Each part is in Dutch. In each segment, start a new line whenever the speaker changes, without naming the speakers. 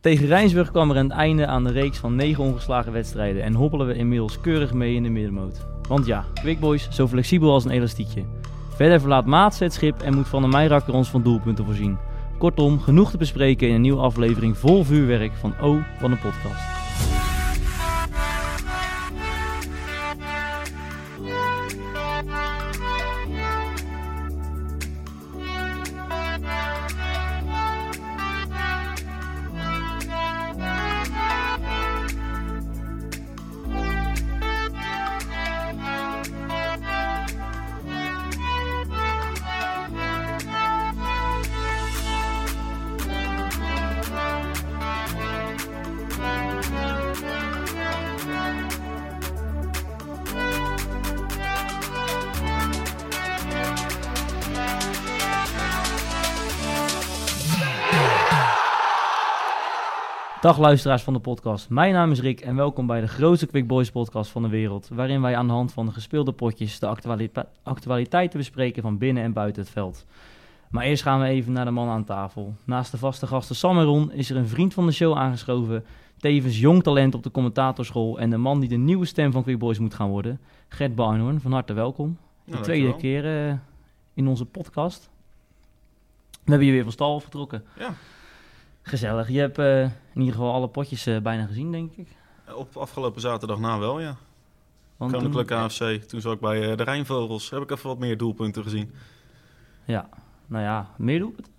Tegen Rijnsburg kwam er een einde aan de reeks van 9 ongeslagen wedstrijden en hobbelen we inmiddels keurig mee in de middenmoot. Want ja, Quickboys zo flexibel als een elastiekje. Verder verlaat Maats het schip en moet Van der Meijrakker ons van doelpunten voorzien. Kortom, genoeg te bespreken in een nieuwe aflevering vol vuurwerk van O van de podcast. Dag luisteraars van de podcast, mijn naam is Rick en welkom bij de grootste Quick Boys podcast van de wereld, waarin wij aan de hand van de gespeelde potjes de actualite actualiteiten bespreken van binnen en buiten het veld. Maar eerst gaan we even naar de man aan tafel. Naast de vaste gasten Sam en Ron is er een vriend van de show aangeschoven, tevens jong talent op de commentatorschool en de man die de nieuwe stem van Quick Boys moet gaan worden, Gert Barnhoorn. Van harte welkom. De
Nou,
tweede keer
dankjewel.
eh, in onze podcast. We hebben je weer van stal afgetrokken.
Ja.
Gezellig. Je hebt eh, in ieder geval alle potjes eh, bijna gezien, denk ik.
Op afgelopen zaterdag na wel, ja.
Want toen-
Koninklijke AFC. Toen zat ik bij eh, de Rijnvogels. Heb ik even wat meer doelpunten gezien.
Ja, nou ja, meer doelpunten.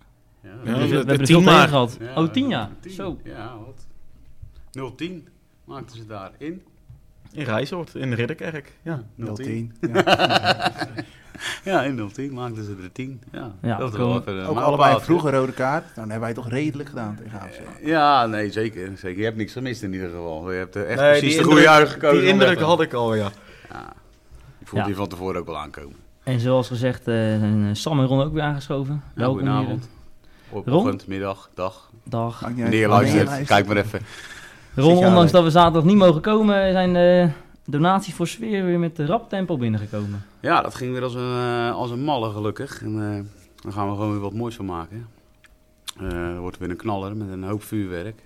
We
Ja,
Ja,
hebben er- we
het-
hebben er
het
veel
tien
tegen
maar.
gehad.
Ja,
oh, tien jaar. Zo.
Ja, wat. 010 maakten ze daarin.
In Rijshoort, in Ridderkerk. Ja.
010. Ja.
Ja, in 010 maakten ze er 10. Ja,
Ja, eh,
dat is
komen-
wel even een
Ook allebei
maalpaaltje.
vroeger rode kaart. Nou, Dan hebben wij toch redelijk gedaan tegen AFC.
Ja, nee, zeker, zeker. Je hebt niks gemist in ieder geval. Je hebt eh, echt
Nee,
precies
die
de goede
indruk-
jaren gekozen.
Die
om
indruk
weg te-
had ik al, ja.
Ja. Ik voelde
Ja.
die van tevoren ook wel aankomen.
En zoals gezegd eh, zijn eh, Sam en Ron ook weer aangeschoven.
Ja,
Welkom hier.
goedenavond. Op
Ron?
ochtend, middag, dag.
Dag.
Maakt niet uit.
Meneer
Meneer
luistert,
luistert.
kijk maar even.
Ron,
jij
ondanks
alleen?
dat we zaterdag niet mogen komen, zijn eh, donaties voor sfeer weer met rap tempo binnengekomen.
Ja, dat ging weer als een, eh, als een malle gelukkig. En eh, daar gaan we gewoon weer wat moois van maken. Eh er wordt weer een knaller met een hoop vuurwerk.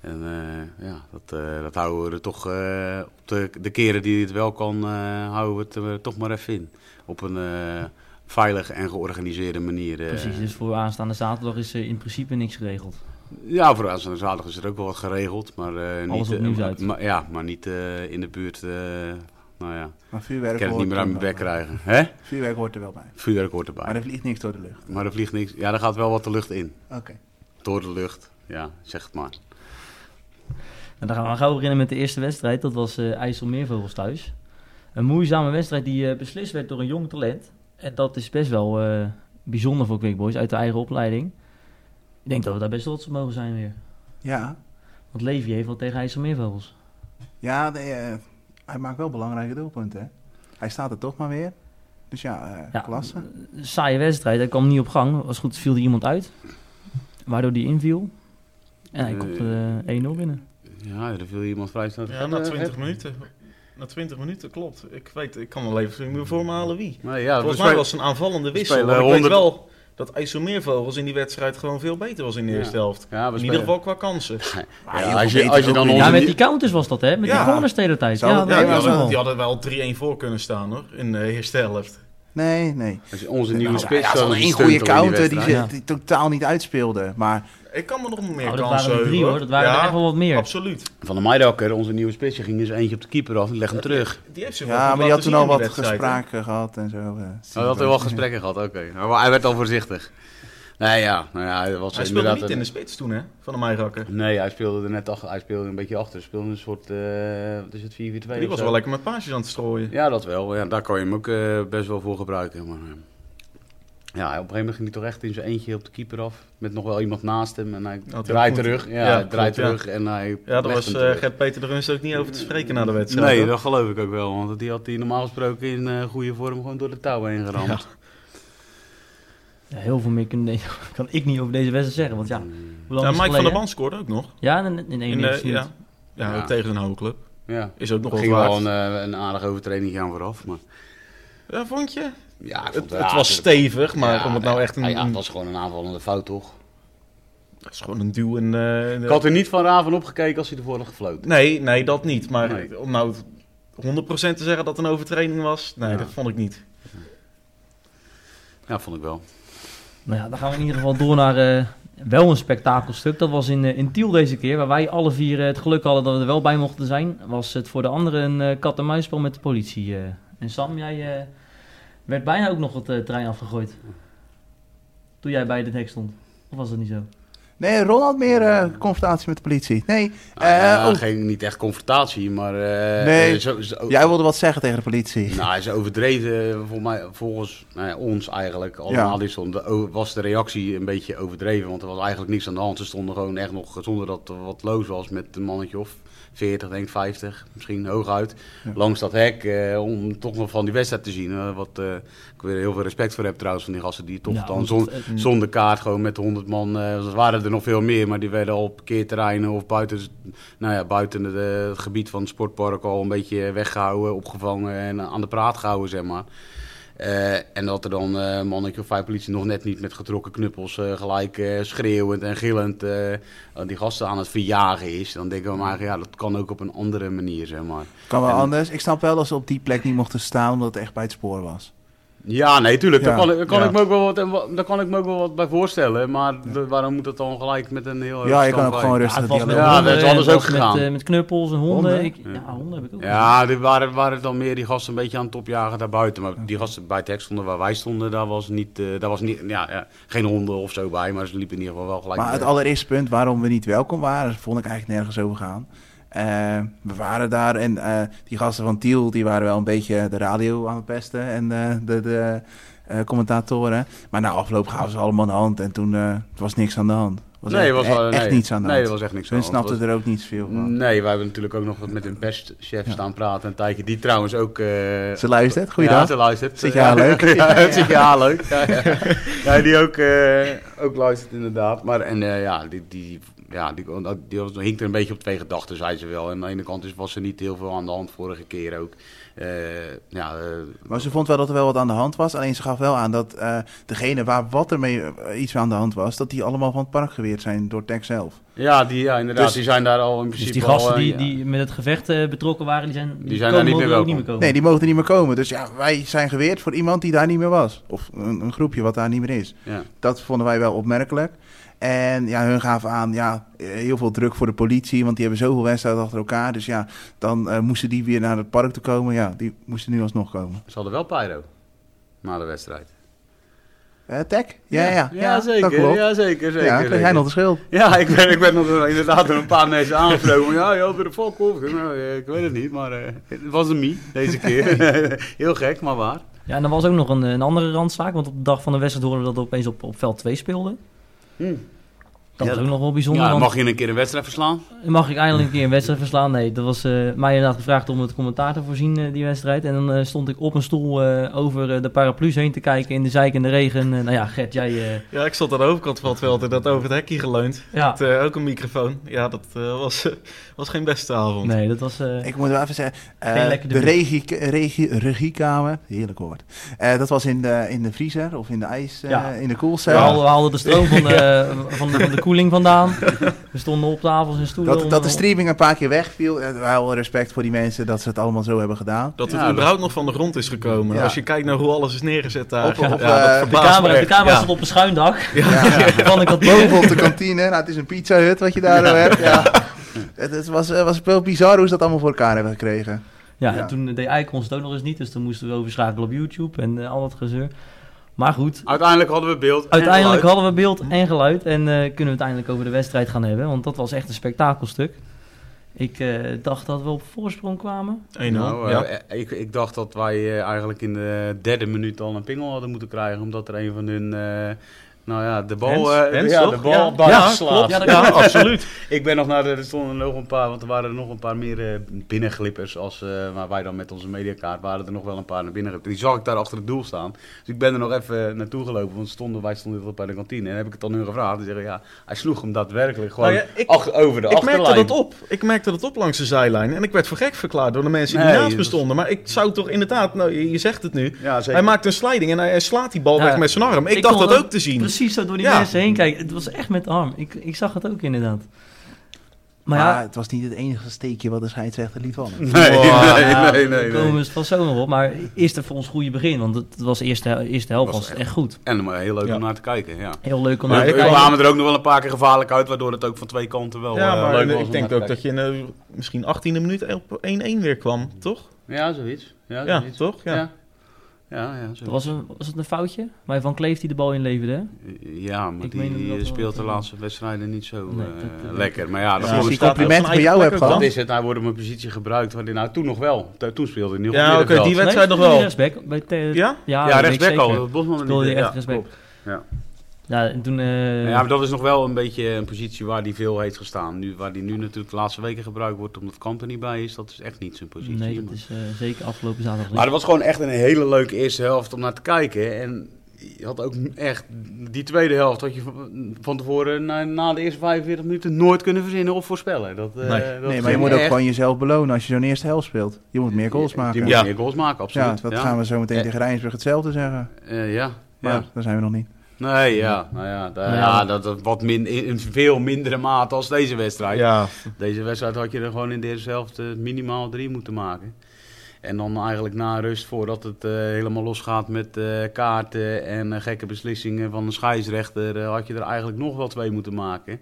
En eh, ja, dat, eh, dat houden we er toch eh, op de, de keren die het wel kan, eh, houden we het er toch maar even in. Op een eh, veilige en georganiseerde manier. eh.
Precies, dus voor aanstaande zaterdag is eh, in principe niks geregeld.
Ja, voor aanstaande zaterdag is er ook wel wat geregeld. Maar, eh,
Alles
niet, eh,
opnieuw uit.
maar- ja, maar niet eh, in de buurt. eh, nou ja,
Maar vuurwerk
ik kan het
hoort
niet meer uit mijn bek
er wel bij.
krijgen. Hè?
Vuurwerk hoort er wel bij.
Vuurwerk hoort erbij.
Maar er vliegt niks door de lucht.
Maar er vliegt niks. Ja, er gaat wel wat de lucht in.
Oké.
Door de lucht. Ja, zeg het maar.
En dan gaan we gauw beginnen met de eerste wedstrijd. Dat was eh IJsselmeervogels thuis. Een moeizame wedstrijd die eh, beslist werd door een jong talent. En dat is best wel eh, bijzonder voor Quick Boys uit de eigen opleiding. Ik denk dat we daar best trots op mogen zijn weer.
Ja.
Want Levi heeft wel tegen IJsselmeervogels.
Ja, nee, eh, hij maakt wel belangrijke doelpunten. Hè? Hij staat er toch maar weer. Dus ja, eh,
Ja.
klasse.
Een saaie wedstrijd, hij kwam niet op gang. Als goed viel er iemand uit. Waardoor die inviel. En hij
Eh.
komt eh 1-0 binnen.
Ja, er viel iemand vrij snel. eh,
Ja, na 20 minuten. Na 20 minuten, klopt. Ik weet, ik kan wel even ik moet voor me halen wie.
Nee, ja, dus
Volgens mij was het een aanvallende wissel.
spelen
maar ik weet
100
wel dat IJsselmeervogels in die wedstrijd gewoon veel beter was in de
Ja.
eerste helft.
Ja, we
In
spelen-
ieder geval qua kansen. Ah,
Maar heel
Ja,
veel
als, je,
beter
als je
ook
dan
niet.
onze...
Ja, met die counters was dat hè? Met die
Ja.
corners de hele tijd.
Zou
Ja,
het-
Ja,
dat
die
maar
was
zo.
hadden,
wel.
die hadden wel 3-1 voor kunnen staan hoor, in de eerste helft.
Nee, nee.
als je onze nieuwe
Nou, hij
spits...
had
zo'n
al één goede counter die,
wedstrijd.
ze- die totaal niet uitspeelde. Maar
Ik kan me nog meer
Oh, dat
kansen
waren er drie
heugen,
hoor, dat waren
Ja,
er echt wel wat meer.
Absoluut.
Van de Meidakker, onze nieuwe spits, die ging dus eentje op de keeper af en leg hem terug.
Die heeft ze wel goed
ja, maar
laten
die had toen
zien
al
in die
wat
wedstrijd, hè.
gespraken gehad en zo. eh.
Hij Oh, had er wel gesprekken gehad, oké. Maar hij werd al voorzichtig. Nee, ja. Nou ja hij was
Hij speelde
inderdaad
niet
een-
in de spits toen, hè? Van de Meirakker.
Nee, hij speelde er net achter. Hij speelde een beetje achter. Hij speelde een soort, eh, wat is het, 4-4-2
Die
of
was
zo.
wel lekker met paasjes aan het strooien.
Ja, dat wel. Ja, daar kan je hem ook eh, best wel voor gebruiken. Maar, eh, ja, op een gegeven moment ging hij toch echt in zijn eentje op de keeper af. Met nog wel iemand naast hem. En hij
dat
draait
moet.
terug. Ja,
Ja,
hij draait
klopt, ja.
terug. En hij
Ja, daar
legt
was
hem
eh
terug.
Gert-Peter de Runst ook niet over te spreken na de wedstrijd.
Nee,
hoor.
dat geloof ik ook wel. Want die had hij normaal gesproken in eh, goede vorm gewoon door de touw heen geramd.
Ja, heel veel meer kan, kan ik niet over deze wedstrijd zeggen. Want ja, hoe
Mm.
lang is
Ja,
het
Mike van
geleden,
der
hè?
Band scoorde ook nog.
Ja, in, in één
In, eh,
minuut.
ja. Ja,
Ja.
ook tegen zijn oude club.
Ja.
Is ook nog
Er
wel
ging wel
waard.
een, eh, een aardige overtreding aan vooraf. Maar,
Ja, vond je?
eh, ja, ik vond
Het,
wel-
het
ja,
was
natuurlijk.
stevig, maar
Ja,
om het nou
nee,
echt een...
ja, het was gewoon een aanvallende fout, toch?
Dat is gewoon een duw en... eh,
Ik had er niet van Raven opgekeken als hij ervoor had gefloten.
Nee, nee, dat niet. Maar
Nee.
om nou 100% te zeggen dat het een overtreding was, nee,
Ja.
dat vond ik niet.
Ja, vond ik wel.
Nou ja, dan gaan we in ieder geval door naar eh, wel een spektakelstuk. Dat was in, eh, in Tiel deze keer, waar wij alle vier eh, het geluk hadden dat we er wel bij mochten zijn. Was het voor de anderen een eh, kat-en-muisspel met de politie. eh. En Sam, jij eh, werd bijna ook nog het eh, trein afgegooid. Toen jij bij de hek stond. Of was dat niet zo?
Nee, Ron had meer eh, confrontatie met de politie. Nee,
Nou, ja,
eh, oh,
geen, niet echt confrontatie, maar... eh,
Nee.
eh, zo, zo-
jij wilde wat zeggen tegen de politie.
Nou, ze overdreven voor mij, volgens nou ja, ons eigenlijk allemaal.
Ja.
Dit stond, de- o- was de reactie een beetje overdreven, want er was eigenlijk niks aan de hand. Ze stonden gewoon echt nog, zonder dat er wat loos was, met een mannetje of 40, denk ik, 50, misschien hooguit.
Ja.
Langs dat hek, eh, om toch nog van die wedstrijd te zien. eh, wat eh, ik weer heel veel respect voor heb trouwens, van die gasten die toch
Ja,
dan
want
zon-
het-
Mm.
zonder kaart, gewoon met 100 man. eh, er waren er nog veel meer, maar die werden al op parkeerterreinen of buiten, nou ja, buiten het, eh, het gebied van het sportpark al een beetje weggehouden, opgevangen en aan de praat gehouden, zeg maar. Eh, en dat er dan eh, een mannetje of vijf politie nog net niet met getrokken knuppels eh, gelijk eh, schreeuwend en gillend eh, die gasten aan het verjagen is. Dan denken we maar, ja, dat kan ook op een andere manier, zeg maar.
Kan wel
En-
anders. Ik snap wel dat ze op die plek niet mochten staan omdat het echt bij het spoor was.
Ja, nee, tuurlijk.
Ja.
Daar, kan, ik- daar kan
Ja.
ik me ook wel wat, en wa- daar kan ik me ook wel wat bij voorstellen. Maar de- waarom moet dat dan gelijk met een heel...
Ja, je kan ook
standbij?
gewoon
Ja,
rustig
het was met
dialoog.
Ja,
honden,
dat is anders
het was
ook gegaan.
Met, eh, met knuppels en honden.
Honden?
Ik, ja, honden heb ik ook.
Ja, er waren, waren dan meer die gasten een beetje aan het opjagen daarbuiten. Maar die gasten bij het hek stonden waar wij stonden, daar was, niet, eh, daar was niet, ja, ja, geen honden of zo bij. Maar ze liepen in ieder geval wel gelijk.
Maar het
weg.
allereerste punt waarom we niet welkom waren, vond ik eigenlijk nergens over gaan. Eh, we waren daar en eh, die gasten van Tiel die waren wel een beetje de radio aan het pesten en eh, de, de eh, commentatoren. Maar na afloop gaven ze allemaal de hand en toen eh, was niks aan de hand. Was
nee,
echt,
was
e-
wel-
echt
nee.
niets aan de
Nee,
hand.
er was echt niks aan
Hun
de hand.
snapten er ook niet veel van.
Nee, wij hebben natuurlijk ook nog wat met een bestchef
Ja.
staan praten. En tijdje die trouwens ook... eh,
Ze luistert,
Ja,
goeiedag.
ze luistert.
Zit je haar leuk?
ja, het zit je haar leuk. Ja, ja. Nee, die ook, eh, ook luistert inderdaad. Maar en, eh, ja, die, die, ja die, die was, hinkt er een beetje op twee gedachten, zei ze wel. En aan de ene kant is, was er niet heel veel aan de hand vorige keer ook. Eh, ja, eh,
Maar ze vond wel dat er wel wat aan de hand was. Alleen ze gaf wel aan dat eh, degene waar wat er mee eh, iets aan de hand was, dat die allemaal van het park geweerd zijn door Tech zelf.
ja, die, ja, inderdaad,
Dus-
die zijn daar al in
Dus
principe
die gasten
al, eh,
die,
ja.
die met het gevecht eh, betrokken waren, die zijn,
Die zijn daar niet
mogen
meer
ook
welkom.
niet meer komen.
Nee, die mochten niet meer komen. Dus ja, wij zijn geweerd voor iemand die daar niet meer was. Of een, een groepje wat daar niet meer is.
Ja.
Dat vonden wij wel opmerkelijk. En ja, hun gaven aan, ja, eh, heel veel druk voor de politie, want die hebben zoveel wedstrijden achter elkaar. Dus ja, dan eh, moesten die weer naar het park te komen. Ja, die moesten nu alsnog komen.
Ze hadden wel pyro na de wedstrijd.
Eh Tech? Ja, ja, ja,
zeker.
Dat klopt. Ja,
Ja, zeker, zeker.
kreeg jij
zeker.
nog de schuld.
Ja, ik ben, ik ben nog door- inderdaad door een paar mensen aangesproken. van, Ja, je had weer een fok op. Nou, eh, ik weet het niet, maar eh, het was een mie deze keer. Heel gek, maar waar.
Ja, en er was ook nog een, een andere randzaak, want op de dag van de wedstrijd hoorden we dat we opeens op, op veld 2 speelden.
Hmm.
Dat
Ja,
was ook nog wel bijzonder.
Ja, dan
want-
mag je een keer een wedstrijd verslaan?
Mag ik eindelijk een keer een wedstrijd verslaan? Nee, dat was eh, mij inderdaad gevraagd om het commentaar te voorzien, eh, die wedstrijd. En dan eh, stond ik op een stoel eh, over eh, de paraplu's heen te kijken in de zeik en de regen. En, nou ja, Gert, jij... eh,
Ja, ik zat aan de overkant van het veld en dat over het hekje geleund.
ja,
Met eh, ook een microfoon. Ja, dat eh, was, eh, was geen beste avond.
nee, dat was... eh,
Ik moet wel even zeggen, eh,
Geen lekkere
de
bier.
regie, regie, regiekamer, heerlijk woord. Eh, dat was in de, in de vriezer of in de ijs, eh,
Ja.
in de
we,
koelcel.
haalden, we haalden de stroom van de, van, de, van de koeling vandaan. We stonden op tafels en stoelen. om-
dat, dat de streaming een paar keer wegviel. Eh, Wel respect voor die mensen dat ze het allemaal zo hebben gedaan.
Dat het
Ja, dat-
überhaupt nog van de grond is gekomen.
Ja.
Als je kijkt naar hoe alles is neergezet daar.
Op- op,
ja,
eh, de
De
verbaast me
camera, de
echt.
camera
Ja.
stond op een schuin dak.
Ja.
Van de kantine.
Boven op de kantine, nou, het is een pizza hut wat je daar hebt. Ja. Het, het was, eh, was wel bizar hoe ze dat allemaal voor elkaar hebben gekregen.
Ja,
Ja.
en toen deed Icons het ook nog eens niet, dus toen moesten we overschakelen op YouTube en eh, al dat gezeur. Maar goed,
Uiteindelijk hadden we beeld. en
Uiteindelijk
geluid.
hadden we beeld en geluid en eh, kunnen we het eindelijk over de wedstrijd gaan hebben, want dat was echt een spektakelstuk. Ik eh, dacht dat we op voorsprong kwamen.
1-0.
Nou,
ja.
eh, ik, ik dacht dat wij eh, eigenlijk in de derde minuut al een pingel hadden moeten krijgen. Omdat er een van hun. eh, nou ja, de
Hens?
bal, eh,
Hens,
ja, de
toch?
bal
Ja.
buiten
Ja,
slaat.
klopt.
Ja, dat
Ja,
klopt.
absoluut.
Ik ben nog naar de, er stonden nog een paar, want er waren er nog een paar meer eh, binnenglippers als eh, waar wij dan met onze mediakaart waren er nog wel een paar naar binnen geglipperd. Die zag ik daar achter het doel staan. Dus ik ben er nog even naartoe gelopen, want stonden, wij stonden heel bij de kantine. En heb ik het dan hun gevraagd. Die zeggen ja, hij sloeg hem daadwerkelijk gewoon
Nou ja, ik-
achter, over de
Ik
achterlijn.
merkte dat op. Ik merkte dat op langs de zijlijn. En ik werd voor gek verklaard door de mensen die
Nee,
naast me
dat-
stonden. Maar ik zou toch inderdaad... Nou, je je zegt het nu.
Ja, zeker.
Hij maakt een sliding en hij hij slaat die bal
Ja.
weg met zijn arm. Ik,
Ik
dacht
kon
dat
het-
ook te zien.
precies zo door die
Ja.
mensen heen kijken. Het was echt met de arm. Ik, ik zag het ook inderdaad. Maar
Maar
ja,
het was niet het enige steekje wat de scheidsrechter liet vallen.
Nee,
Wow.
nee,
ja,
nee,
daar
nee, nee.
komen we van zo nog op. Maar eerst even ons goede begin. Want het was eerste, eerste helft
Was
was het echt goed.
En maar heel leuk
Ja.
om naar te kijken, ja.
Heel leuk om
Ja,
naar te
we
ik-
kijken.
kwamen er ook nog wel een paar keer gevaarlijk uit, waardoor het ook van twee kanten wel
ja,
eh,
maar
leuk was. om
ik denk
naar
ook
te
dat je in de misschien 18e minuut op 1-1 weer kwam, toch?
kijken. Ja, zoiets. Ja,
Ja,
zoiets.
toch? Ja.
Ja, ja, ja,
Dat
zoiets.
was, een, was het een foutje? Maar Van Kleef die de bal inleverde. hè?
ja maar
Ik meen hem
die
dat
eh,
wel
speelt de
te-
laatste wedstrijden niet zo
Nee,
eh,
dat- dat-
lekker. Maar ja, dat
Ja,
vond
die
ik-
staat hij op
complimenten
zijn
bij
eigen
jou hebt
plek
dat
ook
is het. Hij wordt op mijn positie gebruikt. waar die- Nou, toen nog wel. Toen- Toen speelde hij nog
Ja,
op
oké,
middenveld.
die
Nee,
wedstrijd nog
speelde
wel.
hij rechtsback. Bij Te-
Ja?
Ja,
ja,
dat weet ik
rechtsback
Ah, zeker.
al. Bosman
Speelde hij
niet,
echt
ja,
rechtsback.
klopt. Ja.
Ja, en toen... eh,
Ja, maar dat is nog wel een beetje een positie waar hij veel heeft gestaan. Nu, waar hij nu natuurlijk de laatste weken gebruikt wordt omdat Kamp er niet bij is, dat is echt niet zijn positie.
nee,
maar-
dat is eh, zeker afgelopen zaterdag Dus niet.
Maar het was gewoon echt een hele leuke eerste helft om naar te kijken. En je had ook echt die tweede helft had je van- van tevoren na, na de eerste 45 minuten nooit kunnen verzinnen of voorspellen. Dat,
Nee.
eh, dat
nee, maar je
ging
moet ook
echt-
gewoon jezelf belonen als je zo'n eerste helft speelt. Je moet meer goals
Die
maken.
moet
Ja,
Ja.
meer goals maken, absoluut.
dat
Ja.
gaan we zo meteen
Eh.
tegen Rijnsburg hetzelfde zeggen.
Eh, ja.
Maar
ja.
daar zijn we nog niet.
Nee, ja. Nou ja, daar-
Nou ja.
ja, dat, dat wat min, in in veel mindere mate als deze wedstrijd.
Ja,
Deze wedstrijd had je er gewoon in de eerste helft eh, minimaal drie moeten maken. En dan eigenlijk na rust, voordat het eh, helemaal losgaat met eh, kaarten en eh, gekke beslissingen van de scheidsrechter, eh, had je er eigenlijk nog wel twee moeten maken.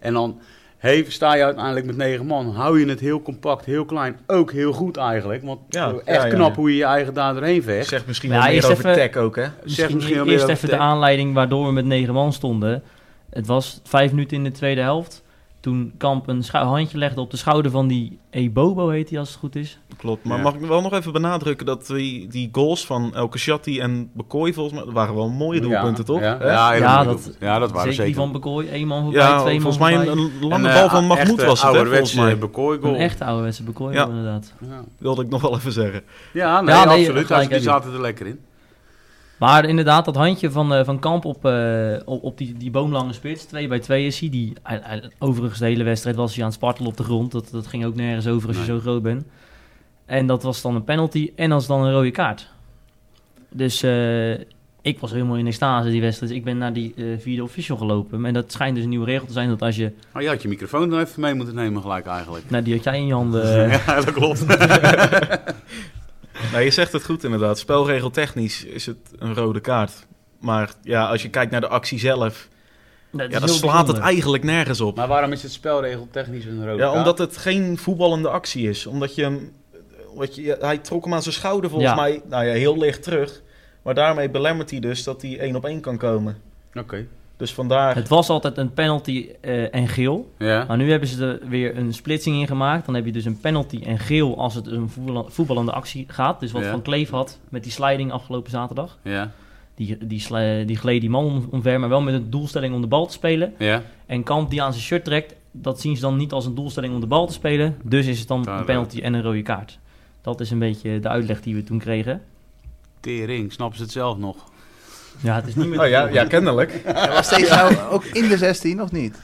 En dan heeft, sta je uiteindelijk met negen man. Hou je het heel compact, heel klein, ook heel goed eigenlijk. Want
Ja,
eh,
ja,
echt
ja,
knap
ja.
hoe je je eigen daar doorheen vecht.
zegt misschien
Ja,
wel meer
eerst
over
even-
tech ook, hè?
Misschien,
misschien wel
eerst
weer
even de
over tech.
aanleiding waardoor we met negen man stonden. Het was vijf minuten in de tweede helft. Toen Kamp een schou- handje legde op de schouder van die Ebobo, heet hij als het goed is.
Klopt, maar
Ja.
mag ik wel nog even benadrukken dat die, die goals van El Kashati en Bekooi volgens mij, dat waren wel mooie doelpunten, toch?
Ja,
Hè?
ja, heel
Ja,
mooi
dat-
doelpunten. ja, dat waren
zeker
zeker.
die van Bekooi, één man voorbij,
Ja,
twee man
volgens mij een,
voorbij.
een lange
Een,
bal
eh,
van Mahmoud
echte
was het, hè, volgens
ouderwetse
mij.
Bekooi
Een
goal.
echte ouderwetse Bekooi,
Ja.
inderdaad.
Ja.
Wilde ik nog wel even zeggen.
Ja, nee,
Ja, nee,
absoluut.
gelijk
die
heb je.
zaten er lekker in.
Maar inderdaad, dat handje van, eh, van Kamp op, eh, op, op die, die boomlange spits, 2 bij 2 is hij. Die, hij- hij- overigens de hele wedstrijd was hij aan het spartelen op de grond. Dat, dat ging ook nergens over als je
Nee.
zo groot bent. En dat was dan een penalty en dat is dan een rode kaart. Dus eh, ik was helemaal in extase die wedstrijd. Ik ben naar die eh, vierde official gelopen. En dat schijnt dus een nieuwe regel te zijn dat als je...
Oh, je had je microfoon dan even mee moeten nemen gelijk eigenlijk.
Nou, die had jij in je handen. eh,
ja, dat klopt.
Nou, je zegt het goed inderdaad. Spelregeltechnisch is het een rode kaart. Maar ja, als je kijkt naar de actie zelf,
dat
ja,
is
dan
heel
slaat het
bijzonder.
eigenlijk nergens op.
maar waarom is het spelregel technisch een rode
Ja,
kaart?
omdat het geen voetballende actie is. Omdat je hem... Wat je, hij trok hem aan zijn schouder volgens
Ja.
mij nou ja, heel licht terug. Maar daarmee belemmert hij dus dat hij één op één kan komen.
Oké.
Dus vandaar...
Het was altijd een penalty eh, en geel.
Ja.
Maar nu hebben ze er weer een splitsing in gemaakt. Dan heb je dus een penalty en geel als het een voetbal- voetballende actie gaat. Dus wat
Ja.
Van Kleef had met die sliding afgelopen zaterdag.
Ja.
Die, die, sli- die gleed die man om- omver, maar wel met een doelstelling om de bal te spelen.
Ja.
En Kamp die aan zijn shirt trekt, dat zien ze dan niet als een doelstelling om de bal te spelen. Dus is het dan
Daar
een penalty en een rode kaart. Dat is een beetje de uitleg die we toen kregen.
Tering, snappen ze het zelf nog?
Ja, het is niet meer...
Oh ja, ja, kennelijk.
Was deze nou ook in de 16 of niet?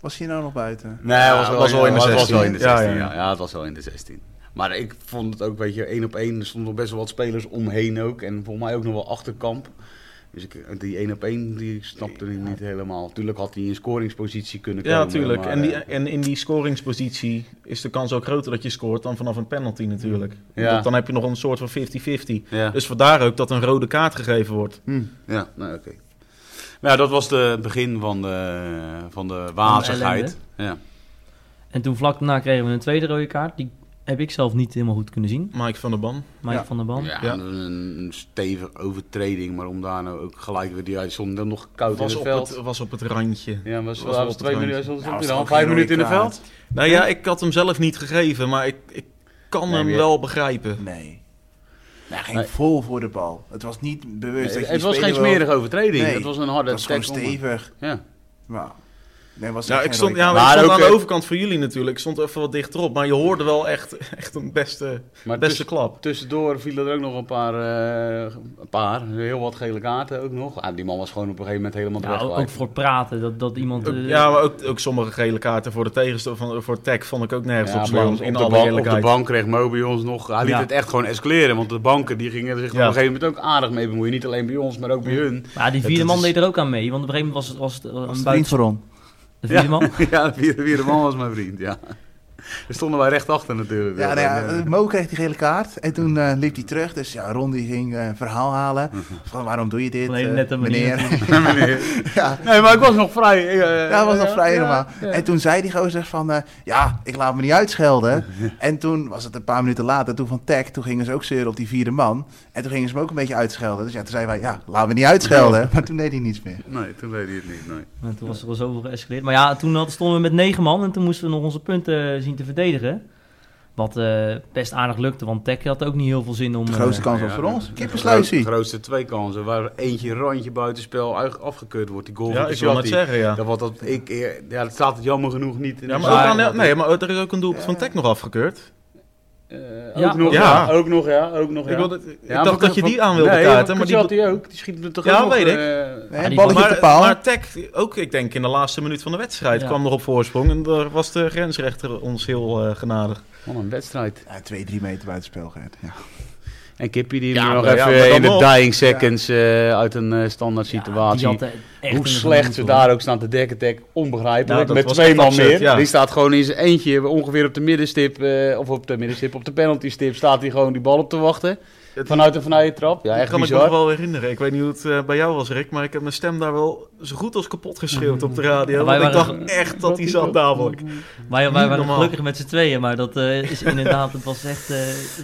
Was hij nou nog buiten?
Nee,
Ja, het was wel in de
het was
16.
wel in de
Ja,
16. Ja,
ja.
ja. het was wel in de 16. Maar ik vond het ook, weet je, één op één. Er stonden nog best wel wat spelers omheen ook. En volgens mij ook nog wel achterkamp. Dus ik, die één op één, die snapte ik niet helemaal. Tuurlijk had hij in scoringspositie kunnen komen.
Ja, tuurlijk.
maar,
En, die,
eh,
en in die scoringspositie is de kans ook groter dat je scoort dan vanaf een penalty natuurlijk.
Ja.
Want dan heb je nog een soort van 50-50.
ja.
Dus vandaar ook dat een rode kaart gegeven wordt.
Ja, nou oké. Nou, dat was de- het begin van de, van de wazigheid. Ja.
En toen vlak daarna kregen we een tweede rode kaart. Die heb ik zelf niet helemaal goed kunnen zien.
Mike van der Ban.
Mike
Ja.
van der Ban.
Ja,
Ja.
een stevige overtreding, maar om daar nou ook gelijk weer die hij stond dan nog koud
Was
in
op,
het veld.
het, was op het randje.
Ja, was,
was
was,
wel
was
op het
twee
randje.
minuten, was,
Nou,
was
was
dan
ook
vijf
geen
minuten in
rode
het
kaart.
veld.
Nou ja, ik had hem zelf niet gegeven, maar ik, ik kan
Nee,
hem
maar je-
wel begrijpen.
Nee. Nou, hij ging
Nee.
vol voor de bal. Het was niet bewust dat je
het was geen
smerige.
smerige overtreding,
Nee,
het was een harde
Het was gewoon
tackle.
stevig.
Ja.
Nou, Nee, was
Ja,
echt
ik
geen
stond,
rode
ja,
kaart.
maar ik
Maar
stond
ook,
aan de
eh,
overkant van jullie natuurlijk. Ik stond even wat dichterop. Maar je hoorde wel echt, echt een beste,
Maar
beste klap.
Tussendoor vielen er ook nog een paar, eh, een paar, heel wat gele kaarten ook nog. Ah, die man was gewoon op een gegeven moment helemaal
Ja,
terecht.
Nou, ook ook voor praten, dat, dat iemand...
Ook-
eh,
ja, maar ook, ook sommige gele kaarten voor de tegenstander, van, voor tech vond ik ook nergens op
maar
slaan.
op,
In alle
de bank, op de
eerlijkheid.
bank kreeg Moby ons nog. Hij liet
Ja.
het echt gewoon escaleren, want de banken die gingen er zich
Ja.
op een gegeven moment ook aardig mee bemoeien. Niet alleen bij ons, maar ook bij hun.
Maar die vierde
Het
man
is-
deed er ook aan mee, want op een gegeven moment was het, was het eh,
Was
een
het vriend
buiten...
voor on.
De vierde man?
ja, de vierde, vierde man was mijn vriend, ja. Daar stonden wij recht achter natuurlijk.
Ja, nou ja,
En, eh,
Mo kreeg die gele kaart en toen eh, liep hij terug. Dus ja, Ron die ging eh, een verhaal halen. Van waarom doe je dit,
Op een hele
eh,
nette manier
meneer?
meneer.
ja,
Nee, maar ik was nog vrij. eh,
Ja, dat was nog vrij
ja,
helemaal.
ja.
En toen zei die gozer van, eh, ja, ik laat me niet uitschelden. en toen was het een paar minuten later, toen van Tech, toen gingen ze ook zeuren op die vierde man. En toen gingen ze hem ook een beetje uitschelden. Dus ja, toen zeiden wij, ja, laat me niet uitschelden. maar toen deed hij niets meer.
Nee, toen weet hij het niet, nee.
En toen was er al zoveel geëscaleerd. Maar ja, toen had- stonden we met negen man en toen moesten we nog onze punten zien te verdedigen. Wat eh, best aardig lukte, want Tech had ook niet heel veel zin om...
De
eh,
grootste kans
Ja,
was voor
de-
ons.
de
Kippensluisie.
groot- grootste twee kansen. Waar eentje randje buitenspel uit- afgekeurd wordt. Die goal
Ja,
van
ik wil het
Pizzatti.
zeggen, ja.
Dat, wordt dat, ik, eh, ja, dat staat het jammer genoeg niet. in
Ja,
de
maar,
Maar-
ook aan- nee, maar er is ook een doelpunt van Tech nog afgekeurd.
Eh,
Ja.
ook, nog,
Ja.
ja. ook nog, ja. Ook nog, ja.
Ik, wilde, ik
Ja,
dacht
maar-
dat je die aan wilde
nee,
kaarten, maar
maar
die...
had die ook. Die schiet er toch
Ja,
ook nog,
weet ik.
eh,
Nee,
Ja,
een
die
balletje op de
maar,
paal.
maar Tech, ook ik denk in de laatste minuut van de wedstrijd,
Ja.
kwam nog op voorsprong. En daar was de grensrechter ons heel eh, genadig.
Wat een wedstrijd.
Ja, twee, drie meter buitenspel, Gert. Ja.
En Kippie die
Ja,
hem nog
maar ja,
even
maar dan
in de
nog.
dying seconds eh, uit een eh, standaard
ja, die
situatie.
had, eh, echt
Hoe
een
slecht ze
gemoed,
daar ook staan te dekken, tek, onbegrijpelijk.
Ja, Nou, dat
met
was
twee
echt
man
absurd,
meer.
ja.
Die staat gewoon in zijn eentje eh, ongeveer op de middenstip, eh, of op de middenstip, op de penaltystip staat hij gewoon die bal op te wachten.
Het-
Vanuit een vrije trap. Ja,
dat
echt
kan
bizar.
ik me nog wel herinneren. Ik weet niet hoe het eh, bij jou was, Rick, maar ik heb mijn stem daar wel zo goed als kapot geschreeuwd op de radio.
Ja, wij
want ik
waren-
dacht echt dat die zat namelijk.
hoor. Maar ja, wij
Niet
waren
normaal.
gelukkig met z'n tweeën, maar dat eh, is inderdaad, het was echt... eh,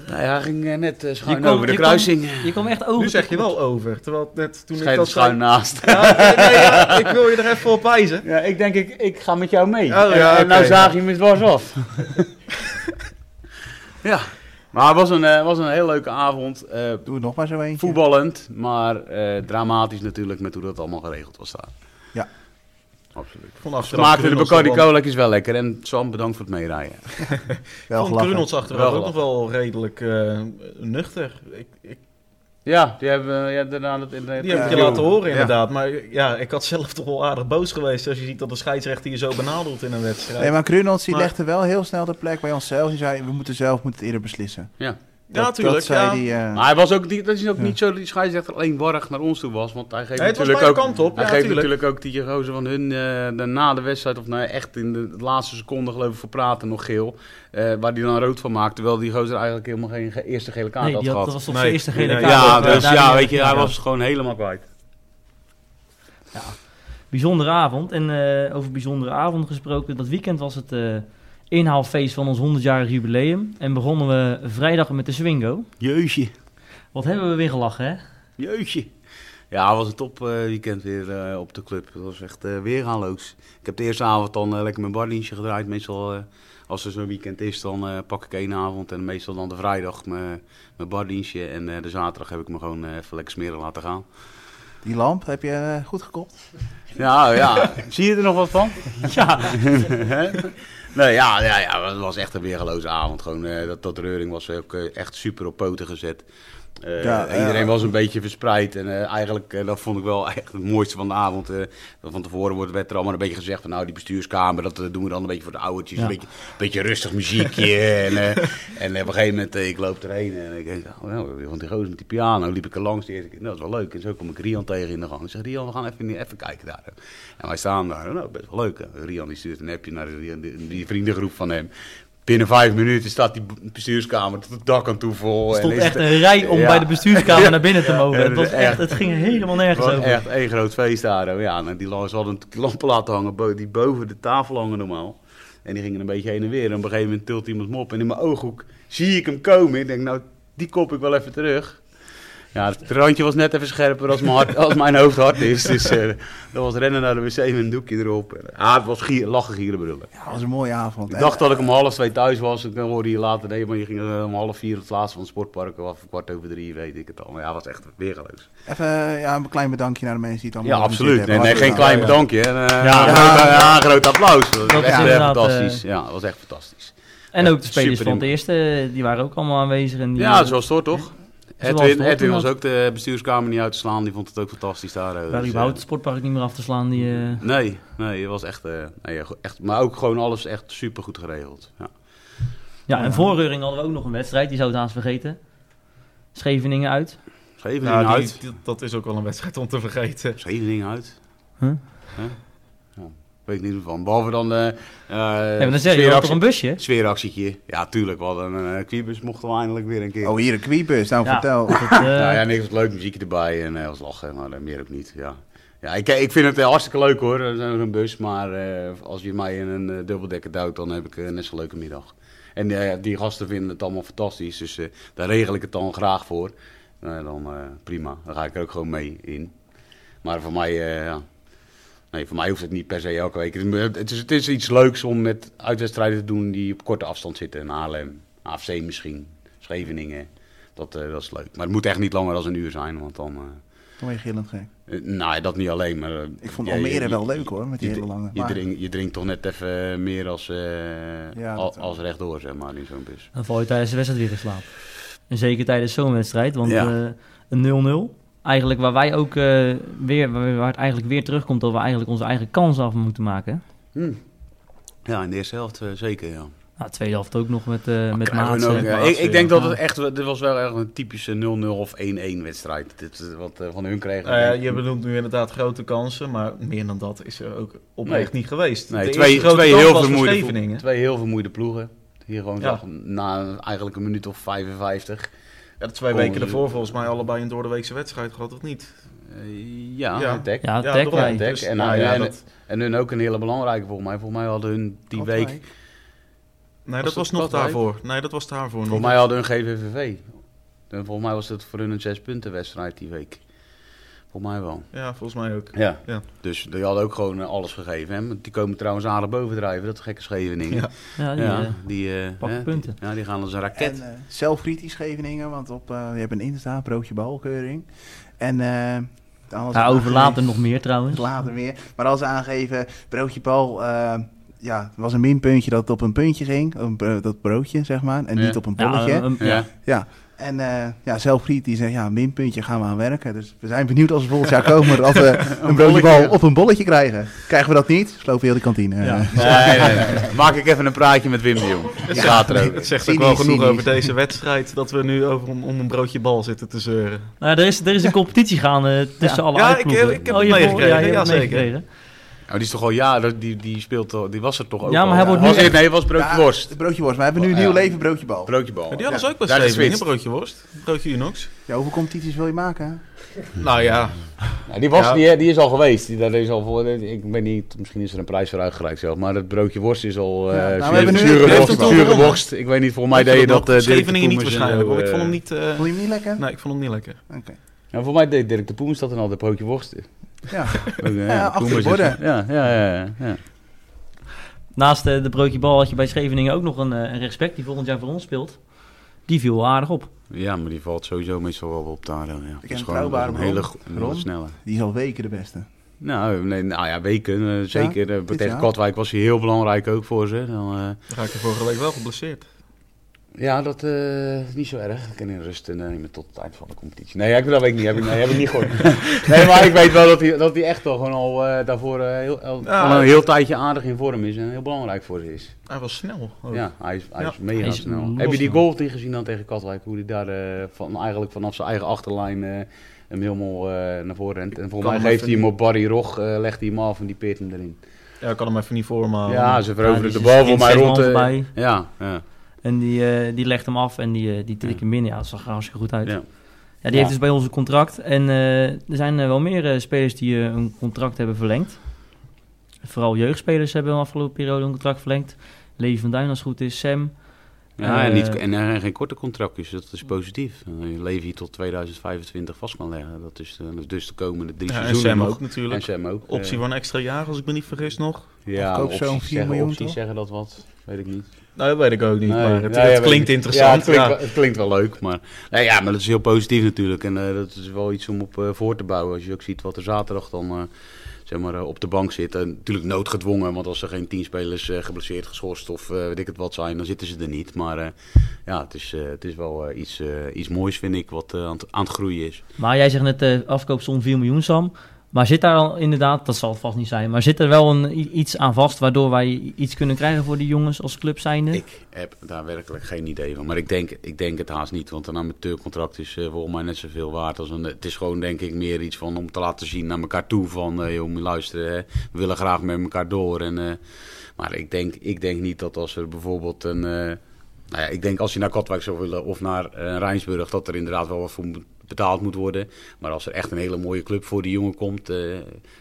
Nou ja, hij ging eh, net eh, schuin
Je kwam-
over de
je
kruising.
je kwam echt over.
Nu zeg je wel over, terwijl het net toen ik
Schijnt
dat
schuin
zei...
naast.
Ja, nee, nee, ja, ik wil je er even op wijzen.
Ja, ik denk, ik, ik ga met jou mee.
Oh,
en,
ja,
en nou
oké.
zaag je me dwars af. ja, maar het was een, eh, was een heel leuke avond. eh,
Doe er nog maar zo eentje.
voetballend, maar eh, dramatisch natuurlijk met hoe dat allemaal geregeld was daar.
Ja.
Absoluut.
Ik vond aftrap
Gemaakt door de
Grunels
Bacardi
toch wel-
Cola is wel lekker. En Sam, bedankt voor het meerijden.
Wel
Ik vond
gelachen.
Grunels achteraf
Wel
ook nog wel redelijk eh, nuchter. Ik, ik,
Ja, die hebben we ja, daarna het internet.
die heb ik je
Ja.
laten horen
Ja.
inderdaad. Maar ja, ik had zelf toch wel aardig boos geweest als je ziet dat de scheidsrechter je zo benadelt in een wedstrijd.
Nee, maar Grunons die
Maar-
legde wel heel snel de plek bij onszelf. Die zei, we moeten zelf moeten het eerder beslissen.
Ja.
ja,
Dat-
natuurlijk.
Dat zei
ja.
die... eh,
Maar hij was ook, die, dat is ook
Ja.
niet zo dat die scheidsrechter alleen warrig naar ons toe was. Want hij geeft
Nee, het was
natuurlijk
beide
ook...
kanten op.
Hij
Ja,
geeft
natuurlijk.
natuurlijk ook die gozer van hun eh, de- na de wedstrijd, of nou echt in de laatste seconde geloof ik voor praten nog geel. eh, waar die dan rood van maakt, terwijl die gozer eigenlijk helemaal geen ge- eerste gele kaart
Nee,
had
die had,
gehad.
dat was op
Nee,
zijn eerste gele
nee,
kaart.
was-
ja,
ook, eh,
dus
daar
ja,
niet
weet je,
echt
hij
van.
was gewoon helemaal kwijt.
Bijzondere avond. En eh, over bijzondere avond gesproken. Dat weekend was het eh, inhaalfeest van ons 100-jarig jubileum. En begonnen we vrijdag met de Swingo.
Jeusje,
Wat hebben we weer gelachen, hè?
jeusje. Ja, het was een top eh, weekend weer eh, op de club. Het was echt eh weergaloos. Ik heb de eerste avond dan eh, lekker mijn bardienstje gedraaid. Meestal eh, als er zo'n weekend is, dan eh, pak ik één avond. En meestal dan de vrijdag mijn, mijn bardienstje. En eh, de zaterdag heb ik me gewoon eh, even lekker smeren laten gaan.
Die lamp heb je eh, goed gekopt.
Ja, Nou, ja. Zie je er nog wat van? Ja. nee, ja, ja, ja, het was echt een weergeloze avond. Gewoon, eh, dat, dat reuring was ook eh, echt super op poten gezet. Eh,
Ja,
iedereen
ja.
was een beetje verspreid. En eh, eigenlijk, eh, dat vond ik wel echt het mooiste van de avond. eh, dat van tevoren wordt, werd er allemaal een beetje gezegd van... nou, die bestuurskamer, dat eh, doen we dan een beetje voor de oudertjes.
Ja.
Een beetje, beetje rustig muziekje. en, eh, en op een gegeven moment, eh, ik loop erheen en ik denk... Oh, nou, want die gozer met die piano liep ik er langs. De eerste keer, nou, dat is wel leuk. En zo kom ik Rian tegen in de gang. Ik zeg, Rian, we gaan even, even kijken daar. En wij staan daar. Nou, best wel leuk. hè. Rian die stuurt een appje naar die, die- die vriendengroep van hem. Binnen vijf minuten staat die bestuurskamer tot het dak aan toe vol.
Er stond
en is
echt
het-
een rij om
Ja.
bij de bestuurskamer naar binnen te mogen.
Ja,
het, was
dat is
echt,
echt-
het ging helemaal nergens
Het was
over.
echt één groot feest daar. hoor. Ja, en die lampen- ze hadden t- lampen laten hangen bo- die boven de tafel hangen normaal. En die gingen een beetje heen en weer. En op een gegeven moment tilt iemand me op. En in mijn ooghoek zie ik hem komen. Ik denk, nou, die kop ik wel even terug. En Ja, het randje was net even scherper als mijn, hart, als mijn hoofd hard is. Dus eh, dat was rennen naar de wc met een doekje erop. En, ah, het was gier, lachen, gieren, brullen.
Ja, dat was een mooie avond.
Ik
hè.
dacht dat ik om half twee thuis was. Ik hoorde je later. Nee, maar je ging eh, om half vier het laatste van het sportpark. Of kwart over drie, weet ik het al. Maar ja, het was echt weergeloos.
Even ja, een klein bedankje naar de mensen die het
Ja,
allemaal
absoluut.
georganiseerd
Nee, nee, geen
hebben. Hartelijk
klein bedankje. En, eh,
Ja.
een groot, ja, een groot applaus. Dat was
is
echt eh,
inderdaad,
fantastisch. Ja, dat was echt fantastisch.
En
Ja,
ook de spelers
super
van het eerste, die waren ook allemaal aanwezig. En die, eh,
Ja, zoals het hoort, toch?
Zoals het
Edwin,
hoort,
Edwin was
inderdaad.
ook de bestuurskamer niet uit te slaan. Die vond het ook fantastisch daar. eh,
Waar
dus,
überhaupt
eh,
het sportpark niet meer af te slaan. Die, eh,
Nee, nee, het was echt, eh, nee, ja, go- echt. Maar ook gewoon alles echt super goed geregeld. Ja.
Ja, en voor Reuring hadden we ook nog een wedstrijd, die zou het haast vergeten. Scheveningen uit.
Eh, Scheveningen
Nou, die-
uit.
die- dat is ook wel een wedstrijd om te vergeten.
Scheveningen uit.
Huh?
Huh? Ja, weet ik niet van. Behalve dan. eh eh
Ja, maar dan zeg je, je had toch een busje?
Sfeeractietje. Ja, tuurlijk. We hadden een eh, kwiebus, mochten we eindelijk weer een keer.
waar. Oh, hier een kwiebus. Nou,
Ja.
vertel.
Dat, eh,
Nou ja, niks was leuk, muziekje erbij en eh was lachen, maar eh, meer ook niet. Ja, ja ik, ik vind het eh, hartstikke leuk hoor, eh, zo'n bus. Maar eh, als je mij in een eh, dubbeldekker duwt, dan heb ik eh, net zo'n leuke middag. En eh, die gasten vinden het allemaal fantastisch, dus eh, daar regel ik het dan graag voor. Nou, dan eh, prima, dan ga ik er ook gewoon mee in. Maar voor mij, eh, ja. nee, voor mij hoeft het niet per se elke week. Het is, het is, het is iets leuks om met uitwedstrijden te doen die op korte afstand zitten. In Haarlem, AFC misschien, Scheveningen. Dat, eh, dat is leuk. Maar het moet echt niet langer dan een uur zijn, want dan... eh,
Dan word je gillend gek.
eh, nou, ja, dat niet alleen, maar... eh,
Ik vond
jij-
Almere
je-
wel leuk hoor, met die
je-
hele lange.
Je
maar-
drinkt, je drinkt toch net even meer als, eh,
Ja,
al-
dat wel.
als rechtdoor, zeg maar, in zo'n bus.
Dan val je tijdens de wedstrijd weer in slaap. En zeker tijdens zo'n wedstrijd, want
Ja.
eh, een 0-0. Eigenlijk waar wij ook eh, weer, waar waar het eigenlijk weer terugkomt dat we eigenlijk onze eigen kans af moeten maken.
Hmm. Ja, in de eerste helft eh, zeker, ja.
Nou, tweede helft ook nog met, eh met
Oh, Krijgen we nou
Maatsen.
ook, ja.
Maatsen,
ik, ik
ja.
denk dat het echt... eh, Dit was wel echt een typische 0-0 of 1-1 wedstrijd. Dit, eh, wat eh, van hun kregen.
Nou ja, je bedoelt nu inderdaad grote kansen, maar meer dan dat is er ook oprecht niet geweest.
Nee,
De
twee,
eerste grote
twee,
kans
heel
was voor
vermoeide, plo-
Scheveningen.
twee heel vermoeide ploegen. Die je gewoon
Ja.
zag na eigenlijk een minuut of 55.
Ja, de twee
Kon-
weken ervoor volgens mij allebei een doordeweekse wedstrijd gehad, of niet?
Eh,
Ja.
ja, ja. Dek.
Ja,
Ja,
tag
daarom.
wij.
Ja, dek.
Dus,
en,
nou
en-
ja,
en-
dat-
En hun ook een hele belangrijke volgens mij. Volgens mij hadden hun die
Altijd.
week...
Nee, dat
Was
was
dat
nog
Katwijk?
daarvoor. Nee, dat was daarvoor
Volgens
nog.
mij hadden hun GVVV. En volgens mij was het voor hun een zes punten wedstrijd die week. Volgens mij wel.
Ja, volgens mij ook.
Ja.
Ja.
Dus die hadden ook gewoon eh, alles gegeven. Hè? Want Die komen trouwens aardig bovendrijven. Dat gekke Scheveningen.
Ja.
Ja, die,
Ja,
eh,
die, eh,
pakken
hè,
punten.
die- Ja, die gaan als een raket.
En eh, zelfkritisch Scheveningen, want op, eh je hebt een Insta, broodje balkeuring. En eh alles
ja, over later nog meer trouwens.
Later weer. Maar als ze aangeven, broodje bal, eh, ja, het was een minpuntje dat het op een puntje ging. Een bro- dat broodje, zeg maar. En
Ja.
niet op een
Ja,
bolletje. Ja,
een- een-
ja.
En eh, ja, zelfkritisch, eh, ja, minpuntje gaan we aan werken. Dus we zijn benieuwd als we volgend jaar komen dat we een broodje
bolletje,
bal
ja.
of een bolletje krijgen. Krijgen we dat niet? Slopen heel de kantine. eh.
Ja.
Nee, nee, nee. Maak ik even een praatje met Wim de Jong. Het gaat er ook.
Het zegt ook
Cynisch,
wel genoeg
cynisch.
over deze wedstrijd dat we nu over om, om een broodje bal zitten te zeuren.
Oh,
Nou, er, is, er is een competitie gaande eh, tussen alle
Ja, ik-
uitploegen.
ik heb
Oh,
het
je hebt-
meegekregen,
je hebt
ja,
het
zeker.
meegekregen.
Oh, die is toch al jaren, die, die, speelt, al- die was er toch ook
Ja, maar
al.
hij wordt
was
nu
dit- Nee, het was broodje
Ja,
worst.
Broodje worst. We hebben nu een
Ja.
nieuw leven broodje bal.
Broodje bal.
Maar die hadden
Ja,
ze ook wel
daar is
Scheveningen,
het
broodje worst, broodje Unox.
Ja, hoeveel competities wil je maken?
Nou ja,
Ja, die, was,
Ja.
die, die is al geweest. Die, dat is al voor, ik weet niet, misschien is er een prijs voor uitgereikt zelf. Maar dat broodje worst is al
Ja,
eh
nou, we
zure,
hebben nu-
zure
heeft
worst,
het al
zure
gewonnen.
worst. Ik weet niet, voor mij
Weet je
deed dat... eh, Dirk de
Scheveningen niet
Poemers en
waarschijnlijk,
zo,
want ik vond hem
eh,
niet... eh,
Wil je hem niet lekker?
Nee, ik vond hem niet lekker.
Oké.
Ja, Nou, voor mij deed Dirk de Poemers dat en al, dat broodje worst.
Ja.
Ook, eh,
Ja, achter de
Poemers is-
borden.
Ja, ja, ja. ja, ja.
Naast eh, de broodje bal had je bij Scheveningen ook nog een, eh, een respect die volgend jaar voor ons speelt. Die viel wel aardig op.
Ja, maar die valt sowieso meestal wel op daar. eh, Ja. Dat is
een
gewoon dat is
betrouwbare
een
bron.
hele go- een hele
Bron.
snelle.
Die is al weken de beste.
Nou, nee, nou ja, weken. eh, zeker eh,
dit
tegen
jaar.
Katwijk was hij heel belangrijk ook voor ze. Dan, eh,
Dan ga ik er vorige week wel geblesseerd.
ja, dat eh, is niet zo erg. Ik kan in rust eh, nemen tot het eind van de competitie. Nee, ja, ik, dat weet ik niet. Heb ik, nee, heb ik niet gehoord. nee, maar ik weet wel dat hij, dat hij echt al gewoon al eh, daarvoor eh, heel, al-
Ja.
al een heel tijdje aardig in vorm is. En heel belangrijk voor ze is.
Hij was snel. ook.
Ja, hij is, hij
Oh. Ja.
is mega
Hij is
snel.
los
Heb je die
snel.
goal die gezien dan tegen Katwijk? Hoe hij daar eh, van, eigenlijk vanaf zijn eigen achterlijn eh hem helemaal eh, naar voren rent. En
kan
volgens mij
hem
geeft hij
even
hem op Barry Rog, eh, legt hij hem af en die peert hem erin.
Ja, ik kan hem even niet voor, maar... eh,
ja, ze
Ja,
veroveren
die
de bal
schiet
voor mij
zes
rond.
man
eh,
voorbij.
ja, ja.
En die, eh, die legt hem af en die, eh, die tikt hem binnen. Ja, dat zag er hartstikke goed uit. Ja,
Ja.
die
Ja.
heeft dus bij ons een contract. En eh, er zijn eh, wel meer eh, spelers die eh, een contract hebben verlengd. Vooral jeugdspelers hebben de afgelopen periode een contract verlengd. Levi van Duin als het goed is, Sam.
Ja, en, niet,
Eh,
en, eh, geen korte contractjes, dat is positief. Eh, Je leven hier tot 2025 vast kan leggen. Dat is eh, dus de komende drie
Ja, en
seizoenen
Sam
nog.
ook natuurlijk.
En Sam ook.
Optie
eh,
van een extra jaar, als ik me niet vergis nog.
Of
ja,
koop
opties
zo'n vier
zeggen-
miljoen,
opties
toch?
zeggen dat wat, weet ik niet.
Nou, dat weet ik ook niet,
Nee.
maar het,
Ja, ja,
het
weet
klinkt
ik. Ja, het
interessant.
klinkt,
ja.
Wel, het klinkt wel leuk, maar... Nee, ja, maar dat is heel positief natuurlijk. En eh, dat is wel iets om op eh, voor te bouwen. Als je ook ziet wat er zaterdag dan eh, zeg maar, eh, op de bank zit. En natuurlijk noodgedwongen, want als er geen tien spelers eh, geblesseerd, geschorst of eh, weet ik het wat zijn, dan zitten ze er niet. Maar eh, ja, het is, eh, het is wel eh, iets, eh, iets moois, vind ik, wat eh, aan, het, aan het groeien is.
Maar jij zegt net eh afkoopsom 4 miljoen, Sam. Maar zit daar al inderdaad, dat zal het vast niet zijn, maar zit er wel een, i- iets aan vast waardoor wij iets kunnen krijgen voor die jongens als club zijnde?
Ik heb daar werkelijk geen idee van. Maar ik denk, ik denk het haast niet. Want een amateurcontract is eh, volgens mij net zoveel waard als een. Het is gewoon denk ik meer iets van om te laten zien naar elkaar toe. Van eh joh, moet je luisteren. Hè. We willen graag met elkaar door. En, eh, maar ik denk, ik denk niet dat als er bijvoorbeeld een. eh, nou ja, ik denk als je naar Katwijk zou willen of naar eh, Rijnsburg, dat er inderdaad wel wat voor moet- betaald moet worden. Maar als er echt een hele mooie club voor die jongen komt, eh,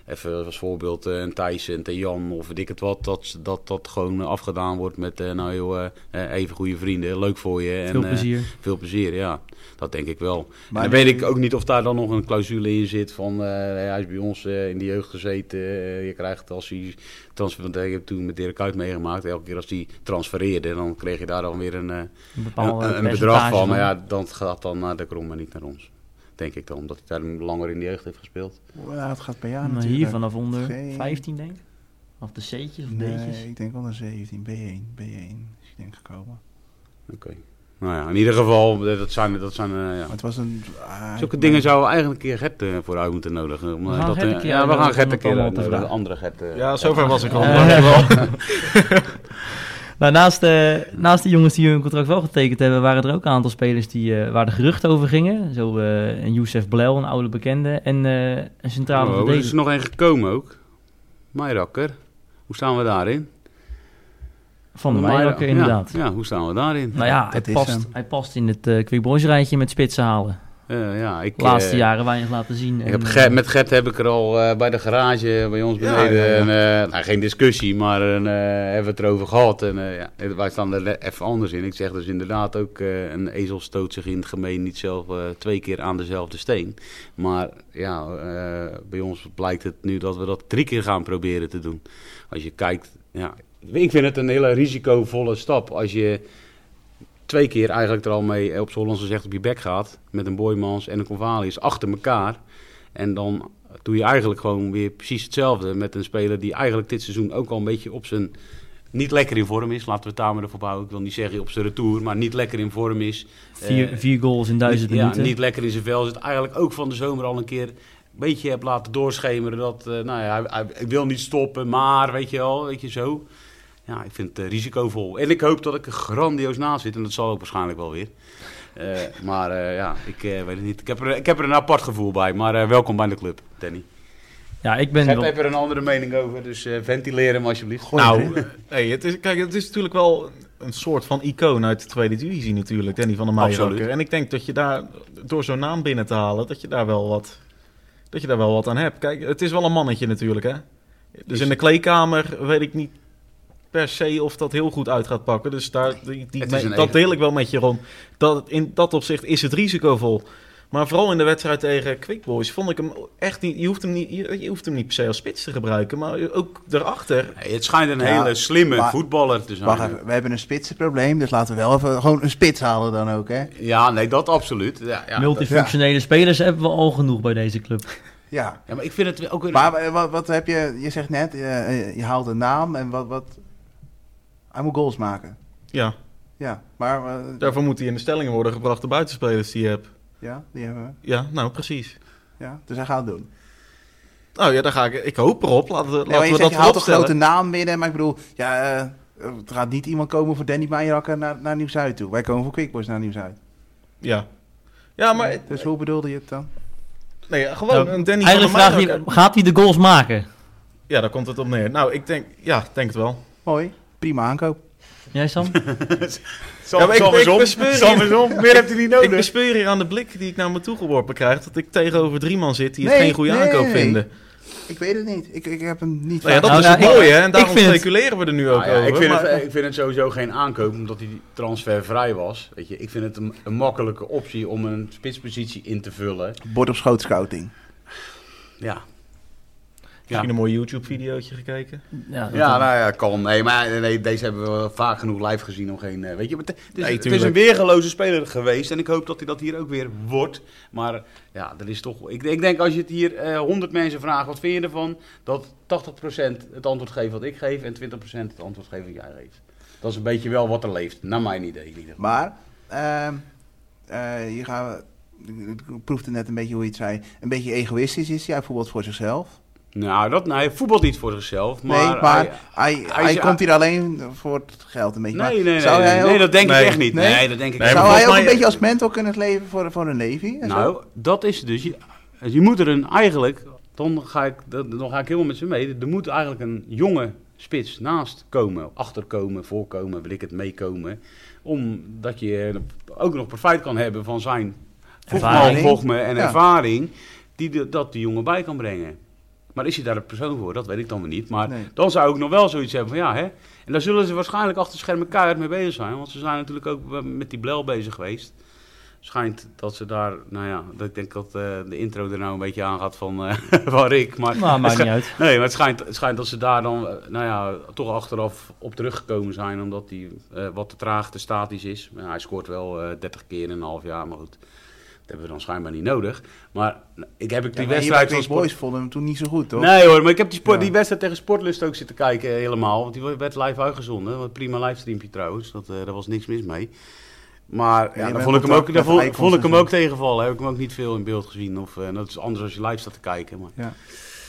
even als voorbeeld eh, een Thijs, een Jan of weet ik het wat, dat dat, dat gewoon eh, afgedaan wordt met eh, nou joh, eh, eh, even goede vrienden, leuk voor je. En,
Veel
eh,
plezier.
veel plezier, ja. Dat denk ik wel.
Maar-
Maar dan weet ik ook niet of daar dan nog een clausule in zit van... eh, hij is bij ons eh, in de jeugd gezeten. eh, je krijgt als hij transfer... Want ik heb toen met Dirk Kuyt meegemaakt. Elke keer als hij transfereerde, dan kreeg je daar dan weer een, eh,
Een, bepaald
een, een bedrag
percentage
van. Maar ja, dat gaat dan naar de krom en niet naar ons. Denk ik dan, omdat hij daar langer in de jeugd heeft gespeeld.
Hoe laat gaat het per jaar
Maar
natuurlijk?
hier vanaf onder
Geen-
15 denk ik. Of de C'tjes of D'tjes.
Nee, ik denk wel naar 17. B1. B1 is ik denk gekomen.
Oké. Nou ja, in ieder geval, eh, dat zijn... Dat zijn eh, ja.
Maar het was een... ah,
Zulke
ik-
dingen zouden we eigenlijk een keer Gert eh, voor uit moeten nodigen. Om,
We
eh,
gaan
dat,
Gert een
eh,
keer
ja, we gaan
uitnodigen
Gert
om dat
een keer
allemaal te
uitnodigen. Een
vragen.
andere Gert. eh,
Ja, zover was ik al.
Eh,
dankjewel.
Nou, naast, eh, naast die jongens die hun contract wel getekend hebben, waren er ook een aantal spelers die, eh, waar de geruchten over gingen. Zo eh een Youssef Blel, een oude bekende, en eh, een centrale
Oh, er is
verdediger.
er nog één gekomen ook. Meirakker. Hoe staan we daarin?
Van de Meijerakker,
Meirakker,
inderdaad.
Ja, ja, hoe staan we daarin?
Nou ja, hij
Dat is
past,
hem.
hij past in het eh Quick Boys rijtje met spitsen halen.
Eh, ja, ik,
De laatste
eh,
jaren weinig laten zien.
Ik
en,
heb
eh,
Gert- met Gert heb ik er al eh, bij de garage bij ons
Ja,
beneden.
ja, ja.
een, eh, nou, geen discussie, maar een, eh, hebben we het erover gehad. En, eh, ja, wij staan er le- even anders in. Ik zeg dus inderdaad ook: eh, een ezel stoot zich in het gemeen niet zelf eh, twee keer aan dezelfde steen. Maar ja, eh, bij ons blijkt het nu dat we dat drie keer gaan proberen te doen. Als je kijkt, ja, ik vind het een hele risicovolle stap. Als je twee keer eigenlijk er al mee eh, op z'n Hollandse zegt op je bek gaat. Met een Boymans en een Convalius achter elkaar. En dan doe je eigenlijk gewoon weer precies hetzelfde met een speler die eigenlijk dit seizoen ook al een beetje op zijn... Niet lekker in vorm is, laten we het daar maar ervoor bouwen. Ik wil niet zeggen op zijn retour, maar niet lekker in vorm is.
vier,
Eh,
vier goals in duizend
niet,
minuten.
Ja, niet lekker in zijn vel zit. Eigenlijk ook van de zomer al een keer een beetje heb laten doorschemeren dat, eh, nou ja, hij, hij- ik wil niet stoppen, maar weet je wel, weet je zo. Ja, ik vind het eh, risicovol. En ik hoop dat ik er grandioos naast zit. En dat zal ook waarschijnlijk wel weer. Eh, maar eh, ja, ik eh, weet het niet. Ik heb, er, ik heb er een apart gevoel bij. Maar eh, welkom bij de club, Danny.
ja, ik ben
Ik
wel...
heb er een andere mening over, dus eh, ventileer hem alsjeblieft.
Nou, eh, nee, het is, kijk, het is natuurlijk wel een soort van icoon uit de tweede divisie natuurlijk, Danny van der Meijer.
Absoluut.
En ik denk dat je daar, door zo'n naam binnen te halen, dat je daar wel wat, dat je daar wel wat aan hebt. Kijk, het is wel een mannetje natuurlijk, hè. Dus
Is-
in de kleedkamer weet ik niet per se of dat heel goed uit gaat pakken. Dus daar, die, die-
Het is een
dat
eigen-
deel ik wel met je, Ron. Dat, in dat opzicht is het risicovol. Maar vooral in de wedstrijd tegen Quick Boys vond ik hem echt niet... Je hoeft hem niet, je, je hoeft hem niet per se als spits te gebruiken, maar ook daarachter...
Hey, het schijnt een
Ja,
hele slimme
maar-
voetballer te zijn.
Wacht even, we hebben een spitsenprobleem, dus laten we wel even gewoon een spits halen dan ook, hè?
Ja, nee, dat absoluut. Ja, ja, dat-
Multifunctionele spelers hebben we al genoeg bij deze club.
Ja.
ja, maar ik vind het ook... een-
Maar eh, wat, wat heb je, je zegt net, eh, eh, je haalt een naam en wat, wat... Hij moet goals maken.
Ja,
Ja, maar... eh,
Daarvoor moet hij in de stellingen worden gebracht, de buitenspelers die je hebt.
ja, die hebben we.
Ja, nou precies.
Ja, dus hij gaat het doen.
Nou ja, daar ga ik. Ik hoop erop. Laten, we-
Nee, maar
laten
je
we
zegt,
dat
je
voorop
haalt een
stellen.
grote naam binnen, maar ik bedoel, ja, eh, er gaat niet iemand komen voor Danny Meijerakker naar, naar Nieuw-Zuid toe. Wij komen voor Quickboys naar Nieuw-Zuid.
Ja. Ja, maar
Dus hoe bedoelde je het dan?
nee, gewoon
Nou,
een Danny van der
Eigenlijk vraagt
Meijden
hij,
ook.
gaat hij de goals maken?
Ja, daar komt het op neer. Nou, ik denk, ja, ik denk het wel.
Mooi, prima aankoop.
Jij Sam?
Sam,
Ja, maar ik-
Sam is
ik
om.
bespeur
Sam
je.
is om. Meer hebt u niet
Ik
nodig.
bespeur hier aan de blik die ik naar me toe geworpen krijg dat ik tegenover drie man zit die het
Nee,
geen goede
nee,
aankoop
nee.
vinden.
Ik weet het niet. Ik, ik heb hem niet.
Nou ja, dat
Nou,
is
nou,
het
ik-
mooie, hè? En daarom
vind het-
speculeren we er nu ook
Nou ja,
over.
ik, vind
maar-
het, ik vind het sowieso geen aankoop, omdat die transfer vrij was. Weet je, ik vind het een, een makkelijke optie om een spitspositie in te vullen.
Bord op schoot scouting.
Ja,
Heb je een mooi YouTube-videootje gekeken?
Ja, dat-
ja nou ja, kan. Nee, maar nee, nee, deze hebben we vaak genoeg live gezien om geen... eh, Weet je, maar het, het
Nee,
is, het is een
tuurlijk.
weergeloze speler geweest en ik hoop dat hij dat hier ook weer wordt. Maar ja, er is toch... Ik, ik denk als je het hier eh 100 mensen vraagt, wat vind je ervan? Dat 80% het antwoord geeft wat ik geef en 20% het antwoord geeft wat jij geeft. Dat is een beetje wel wat er leeft, naar mijn idee in ieder geval.
Maar ehm, eh, hier gaan we. Ik ik proefde net een beetje hoe je het zei. Een beetje egoïstisch is hij. Hij voetbalt voor zichzelf.
Nou, dat, nee, hij voetbalt niet voor zichzelf. Maar ah,
nee, maar hij,
hij-
hij,
hij is-
komt hier alleen voor het geld een beetje. Maar
nee, nee,
zou
nee,
jij
nee,
ook-
nee, dat denk
Nee.
ik echt niet.
Nee?
Nee, dat denk ik
Nee,
echt
maar
zou
volgens
hij ook
mij-
een beetje als mentor kunnen leven voor, voor een Navy? en
niet.
zo?
Nou, dat is dus. Je, dus je moet er een eigenlijk, dan ga ik, dan dan ga ik helemaal met ze mee. Er moet eigenlijk een jonge spits naast komen, achterkomen, voorkomen, wil ik het meekomen. Omdat je ook nog profijt kan hebben van zijn
Ervaring.
ervaring. me en
Ja.
ervaring, die de- dat die jongen bij kan brengen. Maar is hij daar een persoon voor? Dat weet ik dan weer niet. Maar
Nee.
dan zou ik nog wel zoiets hebben van ja, hè. En daar zullen ze waarschijnlijk achter de schermen keihard mee bezig zijn. Want ze zijn natuurlijk ook eh, met die Blel bezig geweest. Schijnt dat ze daar, nou ja, dat ik denk dat eh, de intro er nou een beetje aan gaat van, eh, van Rick. Maar
Nou,
het
maakt niet
schijnt-
uit.
Nee, maar het schijnt, het schijnt dat ze daar dan, eh, nou ja, toch achteraf op teruggekomen zijn. Omdat hij eh, wat te traag, te statisch is. Maar ja, hij scoort wel eh 30 keer in een half jaar, maar goed. Dat hebben we dan schijnbaar niet nodig. Maar nou, ik heb ik
Ja,
die
maar
wedstrijd
Quick
van Sport...
Boys vonden hem toen niet zo goed, toch?
Nee hoor, maar ik heb die, sport,
Ja.
die wedstrijd tegen Sportlust ook zitten kijken eh, helemaal. Want die werd live uitgezonden. Wat prima livestreampje trouwens. Dat, eh, daar was niks mis mee. Maar
je
ja,
bent
daar vond ik hem
contact
ook, daar
met
vond,
icons
vond ik
en
hem
zo.
ook tegenvallen. Heb ik hem ook niet veel in beeld gezien. Of, eh, dat is anders als je live staat te kijken. Maar.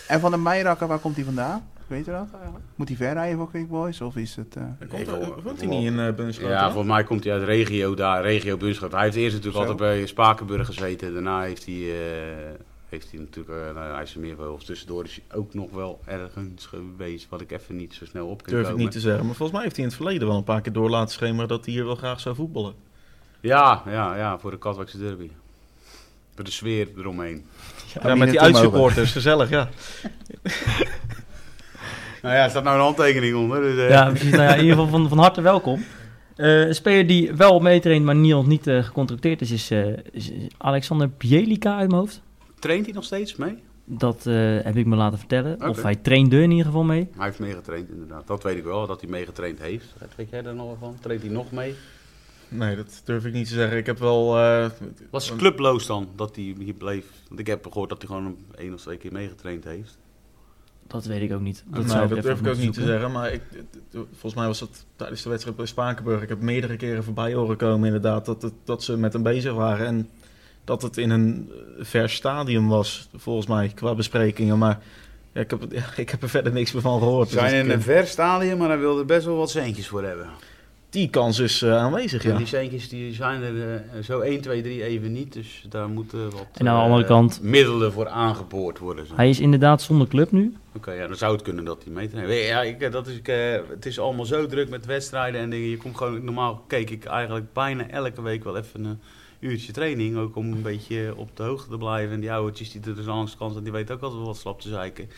En van de Meijerakker, waar komt hij vandaan? Weet je dat? Moet hij verrijden voor Quick Boys? Of is het... eh,
Komt
Nee,
er-
voor-
Woont hij
voor-
niet in eh Bunschoten?
Ja, volgens mij komt hij uit regio daar, regio Bunschot. Hij heeft eerst natuurlijk
Zo.
altijd bij Spakenburg gezeten. Daarna heeft hij, eh, heeft hij natuurlijk eh naar IJsselmeer of tussendoor is hij ook nog wel ergens geweest. Wat ik even niet zo snel op kan
Durf ik
komen.
niet te zeggen. Maar volgens mij heeft hij in het verleden wel een paar keer door laten schemeren dat hij hier wel graag zou voetballen.
Ja, ja, ja, voor de Katwijkse derby. Voor de sfeer eromheen.
Ja, met die
naartoe mogen.
uitsupporters, gezellig, ja.
Nou ja, er staat nou een handtekening onder. Dus, eh,
Ja, precies. Nou ja, in ieder geval van, van harte welkom. Eh, een speler die wel meetraint, maar niet, nog niet eh, gecontracteerd is, is, eh, is- is Alexander Bielica uit mijn hoofd.
Traint hij nog steeds mee?
Dat eh, heb ik me laten vertellen. Of
Oké.
hij trainde in ieder geval mee.
Hij heeft meegetraind, inderdaad. Dat weet ik wel, dat hij meegetraind heeft. Weet jij daar nog wel van? Traint hij nog mee?
Nee, dat durf ik niet te zeggen. Ik heb wel... eh,
Was het clubloos dan, dat hij hier bleef? Want ik heb gehoord dat hij gewoon één of twee keer meegetraind heeft.
Dat weet ik ook niet.
Dat,
zou
dat
even
durf ik ook
moeten
niet te
zoeken.
zeggen, maar ik, volgens mij was dat tijdens de wedstrijd bij Spakenburg. Ik heb meerdere keren voorbij horen komen inderdaad dat, het- dat ze met hem bezig waren. En dat het in een eh, vers stadium was, volgens mij, qua besprekingen. Maar ja, ik, heb, ja, ik heb er verder niks meer van gehoord.
Ze
Dus
zijn
ik,
in een
eh,
ver stadium, maar hij wil er best wel wat centjes voor hebben.
Die kans is eh, aanwezig,
En
ja.
die centjes die zijn er eh, zo 1, 2, 3 even niet. Dus daar moeten wat
En aan de
eh,
andere kant-
middelen voor aangeboord worden. zeg.
Hij is inderdaad zonder club nu.
Oké, ja, dan zou het kunnen dat hij meetraint. Weet je, Ja, ik, eh, dat is, ik, eh, het is allemaal zo druk met wedstrijden en dingen. Je komt gewoon, normaal keek ik eigenlijk bijna elke week wel even een uurtje training. Ook om een beetje op de hoogte te blijven. En die oudertjes die er dus langs kant en die weten ook altijd wel wat slap te zeiken.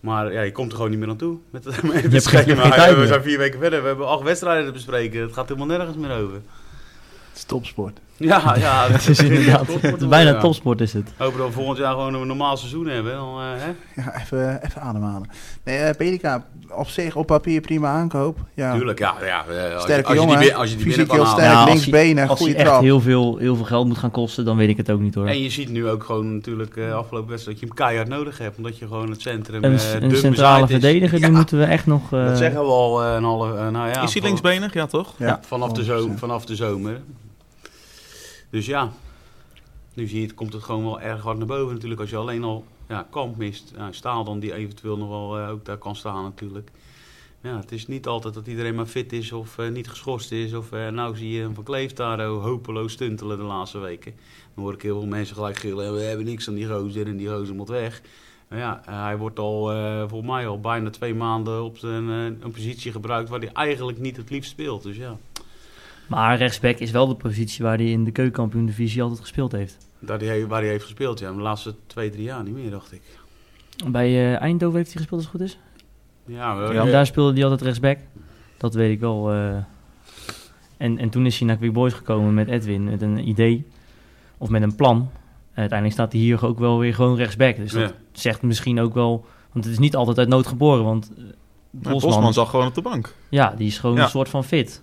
Maar ja, je komt er gewoon niet meer aan toe met het,
hebt
met het
geen- je hebt
schema.
geen tijd
we
meer.
zijn vier weken verder, we hebben acht wedstrijden te bespreken. Het gaat helemaal nergens meer over.
Het is topsport.
Ja, ja.
Het is inderdaad
Topsport,
bijna
ja.
topsport is het.
Hopen dat we volgend jaar gewoon een normaal seizoen hebben. Dan, eh, hè?
Ja, even, even ademhalen. Nee, eh, Pelika, op zich op papier prima aankoop. Ja.
Tuurlijk, ja. ja eh, als, je-
Sterke
als je die,
jongen.
win- als je die binnen
Fysiek
kan
heel
halen.
sterk,
Ja, als
linksbenen,
Als hij
goede
echt
trap.
heel veel, heel veel geld moet gaan kosten, dan weet ik het ook niet hoor.
En je ziet nu ook gewoon natuurlijk eh, afgelopen wedstrijd dat je hem keihard nodig hebt. Omdat je gewoon het centrum
Een,
eh,
een
dun
centrale
bezaaid is.
verdediger, die
Ja,
moeten we echt nog... eh,
Dat zeggen we al eh, een half... eh, nou ja,
is hij
van-
linksbenig? Ja, toch?
Ja, vanaf, de zomer, vanaf de zomer. Dus ja, nu zie je het, komt het gewoon wel erg hard naar boven natuurlijk. Als je alleen al ja, kamp mist, ja, staal dan die eventueel nog wel eh, ook daar kan staan natuurlijk. Ja, het is niet altijd dat iedereen maar fit is of eh, niet geschorst is. Of eh, nou zie je hem van Kleef daar oh, hopeloos stuntelen de laatste weken. Dan hoor ik heel veel mensen gelijk gillen, "Eh, we hebben niks aan die gozer en die gozer moet weg. Nou ja, eh, hij wordt al eh, volgens mij al bijna twee maanden op zijn, eh, een positie gebruikt waar hij eigenlijk niet het liefst speelt. Dus ja.
Maar rechtsback is wel de positie waar hij in de keukenkampioen divisie altijd gespeeld heeft.
Daar die, waar hij heeft gespeeld, ja. De laatste twee, drie jaar niet meer, dacht ik.
Bij eh, Eindhoven heeft hij gespeeld als het goed is.
Ja, we-
Ja.
En daar speelde hij altijd rechtsback. Dat weet ik wel. eh. en, en toen is hij naar Quick Boys gekomen met Edwin. Met een idee. Of met een plan. En uiteindelijk staat hij hier ook wel weer gewoon rechtsback. Dus dat
ja.
zegt misschien ook wel... Want het is niet altijd uit nood geboren. Want eh,
Maar
Bosman,
Bosman zat gewoon op de bank.
ja, die is gewoon
Ja.
een soort van fit.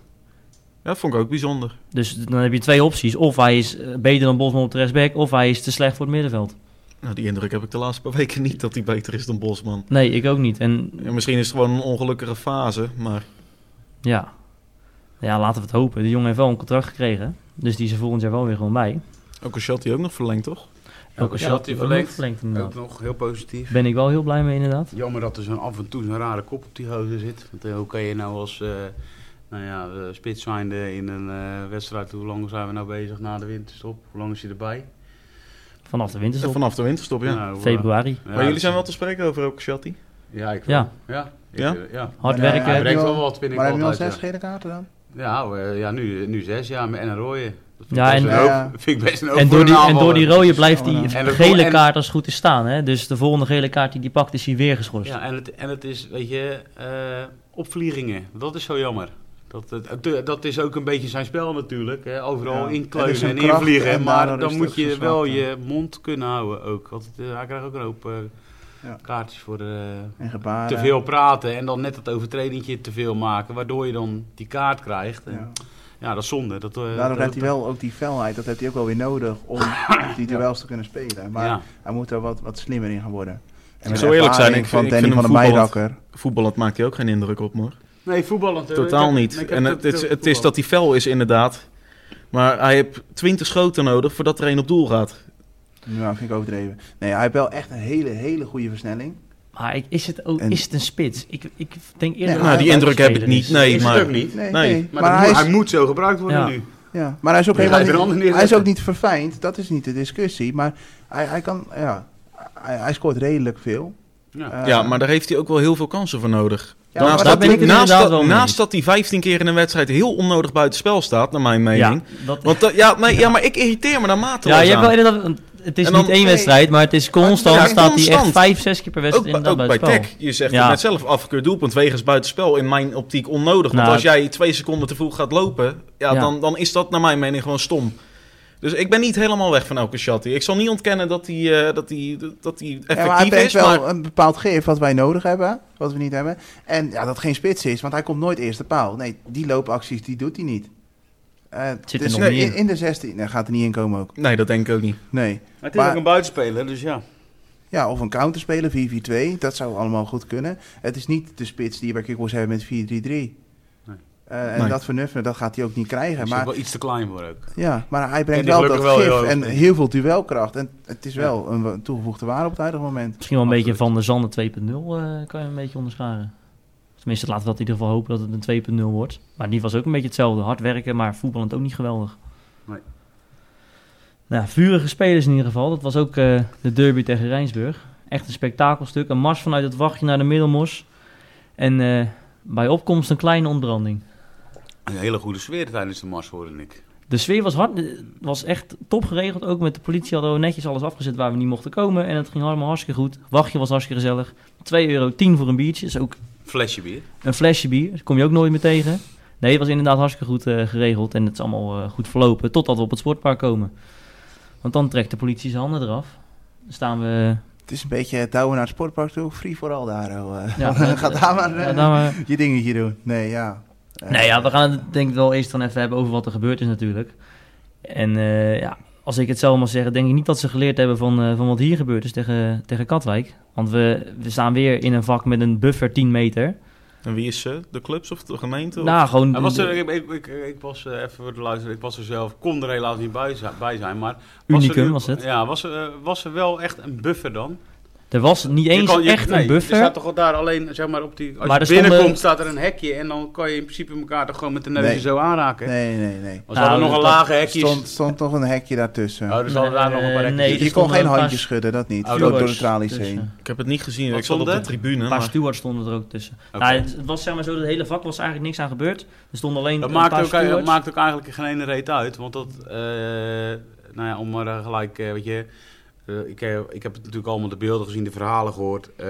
Ja, dat vond ik ook bijzonder.
Dus dan heb je twee opties. Of hij is eh, beter dan Bosman op de rechtsback. Of hij is te slecht voor het middenveld.
Nou, die indruk heb ik de laatste paar weken niet dat hij beter is dan Bosman.
Nee, ik ook niet. En
Ja, misschien is het gewoon een ongelukkige fase, maar
Ja. Ja, laten we het hopen. De jongen heeft wel een contract gekregen. Dus die is er volgend jaar wel weer gewoon bij.
ook een shot die ook nog verlengd, toch?
Ook
als
als
je had die verlengd,
verlengt
ook
inderdaad.
nog heel positief.
Ben ik wel heel blij mee inderdaad.
Jammer dat er zo'n af en toe zo'n rare kop op die gozer zit. Want eh, hoe kan je nou als eh nou ja, eh, spits zijnde in een eh, wedstrijd... Hoe lang zijn we nou bezig na de winterstop? Hoe lang is je erbij?
Vanaf de winterstop.
Vanaf de winterstop, ja.
Nou, eh,
Februari.
ja,
maar jullie zijn wel te spreken over Okosciati?
Ja, ik
Ja.
wel. Ja. Ik,
Ja?
eh, ja.
Hard
Maar, eh,
werken.
Hij
heb
brengt
je
wel
al-
wat, vind ik
Maar hebben we al
altijd.
zes
ja.
gele kaarten dan?
Ja, eh, ja nu, nu zes, ja. En een rode. Dat vind ik
Ja,
best
en-
een hoop.
Ja.
vind ik best een hoop
en,
voor
door die,
een
en door die
aanvaller.
rode blijft
Ja,
die
maar
dan- En de vol-
gele
en-
kaart als het goed is staan. Hè? Dus de volgende gele kaart die die pakt is hij weer geschorst.
Ja, en het, en het is, weet je, eh, opvliegingen. Dat is zo jammer. Dat, dat, dat is ook een beetje zijn spel natuurlijk. Hè? Overal
Ja. Het is
inkleunen
zijn
en
kracht
invliegen.
en
maar
daardoor is
dan
het
moet
ook
je
zo
wel
zwak, ja.
je mond kunnen houden ook. Want het, eh, hij krijgt ook een hoop eh,
Ja.
kaartjes voor eh,
En gebaren.
te veel praten. En dan net dat overtredingje te veel maken. Waardoor je dan die kaart krijgt. En, ja.
Ja.
dat is zonde. Dat, eh,
Daardoor
dat-
heeft hij wel ook die felheid, dat heeft hij ook wel weer nodig om die duels te kunnen spelen. Maar
Ja.
hij moet er wat, wat slimmer in gaan worden. En
Ik
met
zou eerlijk zijn,
ervaring
ik
van
vind- ik
Danny
vind
van
hem
den
voetballend-
Bijdakker.
Voetballend maakt hij ook geen indruk op, hoor.
Nee, voetbal natuurlijk.
Totaal
Ik heb-
niet.
ik heb
en
dat-
het, het,
dat-
het is dat hij fel is, inderdaad. Maar hij heeft 20 schoten nodig voordat er één op doel gaat.
Nou, vind ik overdreven. Nee, hij heeft wel echt een hele, hele goede versnelling.
Maar ik, is, het ook,
En-
is het een spits? Ik, ik denk eerder...
Ja,
dat
nou,
het
die
een
indruk heb ik
speler
niet.
is.
Nee,
Is het
maar
ook niet.
Nee,
Nee,
nee.
Maar,
Maar,
dat
hij,
moet-
is,
hij moet zo gebruikt worden
Ja.
nu.
ja, maar hij is ook
Ja, hij
helemaal
is er
niet,
anders
hij is
neerzetten.
ook niet verfijnd. Dat is niet de discussie. Maar hij, hij kan, ja, hij, hij scoort redelijk veel.
Ja.
Eh,
ja, maar daar heeft hij ook wel heel veel kansen voor nodig.
ja,
naast,
daar
maar
dat,
dat-
ben ik
hij-
het
naast,
inderdaad
dat,
wel mee
naast
eens.
dat hij 15 keer in een wedstrijd heel onnodig buitenspel staat, naar mijn mening.
Ja, dat,
Want dat- ja, nee, ja. maar ik irriteer me daar mateloos
ja, je hebt
aan.
wel inderdaad... want Het is
En dan-
niet één
nee.
wedstrijd, maar het is constant.
Ja,
staat hij echt
constant.
vijf, zes keer per wedstrijd
Ook,
inderdaad
ook bij
het spel.
Tech. Je zegt
Ja.
het net zelf, afgekeurd doelpunt wegens buitenspel in mijn optiek onnodig. Want
Nou,
als jij twee seconden te vroeg gaat lopen, ja,
Ja.
Dan, dan is dat naar mijn mening gewoon stom. Dus ik ben niet helemaal weg van elke shotty. Ik zal niet ontkennen dat hij eh, dat hij dat hij
ja,
effectief
maar hij
is.
heeft
Maar,
wel een bepaald gif wat wij nodig hebben, wat we niet hebben. En ja, dat geen spits is, want hij komt nooit eerst de paal. Nee, die loopacties, die doet hij niet. Eh,
Zit er
dus
nog niet
in,
in.
in de 16 nee, gaat er niet in komen ook.
nee, dat denk ik ook niet.
Nee.
Maar het is
Maar-
ook een buitenspeler, dus ja.
Ja, of een counter spelen, 4-4-2. Dat zou allemaal goed kunnen. Het is niet de spits die je bij Kickbox hebben met 4-3-3. Eh, en
Nee.
dat vernuffen, dat gaat hij ook niet
Hij
krijgen.
is
Maar,
ook wel iets te klein voor ook.
ja, maar hij
En
brengt
die
wel dat
gelukkig wel heel
gif
hoog
en
springt.
heel veel duelkracht. En het is wel een wa- toegevoegde waarde op het huidige moment.
Misschien wel een
Absoluut.
beetje van de Zanden 2.0 eh, kan je een beetje onderscharen. Tenminste, laten we dat in ieder geval hopen dat het een 2.0 wordt. Maar die was ook een beetje hetzelfde. Hard werken, maar voetballend ook niet geweldig.
Nee.
Nou, vurige spelers in ieder geval. Dat was ook eh, de derby tegen Rijnsburg. Echt een spektakelstuk. Een mars vanuit het wachtje naar de middelmos. En eh, bij opkomst een kleine ontbranding.
Een hele goede sfeer tijdens de mars, hoorde ik.
De sfeer was hard, eh, was echt top geregeld. Ook met de politie hadden we netjes alles afgezet waar we niet mochten komen. En het ging allemaal hartstikke goed. Wachtje was hartstikke gezellig. 2,10 euro voor een biertje. Is ook
Flesje bier.
een flesje bier. Daar kom je ook nooit meer tegen. Nee, het was inderdaad hartstikke goed eh, geregeld. En het is allemaal eh, goed verlopen. Totdat we op het sportpark komen. Want dan trekt de politie zijn handen eraf. Dan staan we...
Het is een beetje touwen naar het sportpark toe. Free for all daar. oh, eh.
Ja,
Ga daar maar,
Ja,
eh,
daar maar.
je dingetje doen. Nee, ja. Eh,
Nou ja, we gaan het denk ik wel eerst dan even hebben over wat er gebeurd is natuurlijk. En eh, ja, als ik het zelf mag zeggen, denk ik niet dat ze geleerd hebben van, eh, van wat hier gebeurd is tegen, tegen Katwijk. Want we, we staan weer in een vak met een buffer 10 meter.
En wie is ze? De clubs of de gemeente?
Nou, gewoon...
Hij was er, ik, ik, ik, ik was eh, even voor de luisteren, ik was er zelf, kon er helaas niet bij, zi- bij zijn, maar... was
Unicum
er, nu-
was het.
Ja, was er, eh, was er wel echt een buffer dan?
er was niet
Je
eens
kan- je-
echt
nee,
een buffer.
Er staat toch wel daar alleen, zeg maar, op die... Als
Maar er
je
stonden-
binnenkomt staat er een hekje en dan kan je in principe elkaar toch gewoon met de neus
Nee.
zo aanraken.
Nee, nee, nee.
Was er
Nou,
nog een
dat-
lage hekje?
Stond, stond toch een hekje daartussen.
Oh, er zaten daar nog een paar
Eh,
hekjes.
nee,
je
er
je kon
stonden
geen
een paar
handjes schudden, dat niet.
Oh,
Door- door de
stewards
tralies
tussen.
heen.
Ik heb het niet gezien.
Wat
ik zat op
stond
de
er?
tribune.
Een paar
Maar,
stewards stonden er ook tussen.
Oké.
Nou, het was zeg maar zo, het hele vak was eigenlijk niks aan gebeurd. Er stonden alleen
Dat
een
maakt
paar
ook, dat
stewards.
maakt ook eigenlijk geen ene reet uit. Want dat, eh, nou ja, om maar eh, gelijk, eh, weet je, eh, eh, ik, heb, ik heb natuurlijk allemaal de beelden gezien, de verhalen gehoord. Ehm,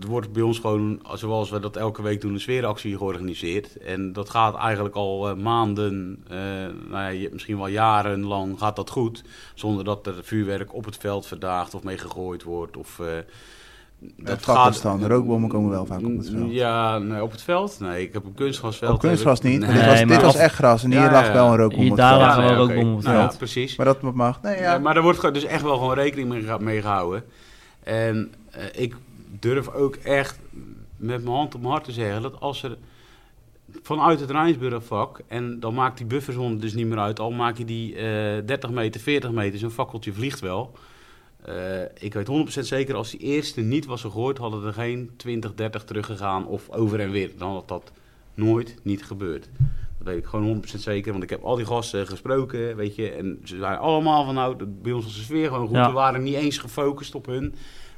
er wordt bij ons gewoon, zoals we dat elke week doen, een sfeeractie georganiseerd. En dat gaat eigenlijk al eh, maanden, eh, nou ja, je- misschien wel jarenlang gaat dat goed. Zonder dat er vuurwerk op het veld verdaagd of mee gegooid wordt. Of, eh,
Dat gaat staan. De rookbommen komen wel vaak op het veld.
Mm, Ja, nee, op het veld? Nee, ik heb een kunstgrasveld.
Op kunstgras
heb ik-
niet, want
Nee,
dit was,
maar
dit was
als-
echt gras en hier
Ja,
lag
ja.
wel een rookbom
Hier,
op het
daar
veld.
lagen wel
oké.
rookbommen op het
Nou ja,
veld.
precies.
Maar dat mag. Nee, ja.
Ja, maar daar wordt ge- dus echt wel gewoon rekening mee geha- mee gehouden. En eh, ik durf ook echt met mijn hand op mijn hart te zeggen dat als er vanuit het Rijnsburgvak, en dan maakt die bufferzone dus niet meer uit, al maak je die eh, 30 meter, 40 meter, zo'n fakkeltje vliegt wel. Eh, ik weet 100% zeker, als die eerste niet was gegooid, hadden er geen 20, 30 teruggegaan of over en weer. Dan had dat nooit niet gebeurd. Dat weet ik gewoon 100% zeker, want ik heb al die gasten gesproken, weet je. En ze waren allemaal van, nou, dat- bij ons was de sfeer gewoon goed.
Ja.
We waren niet eens gefocust op hun.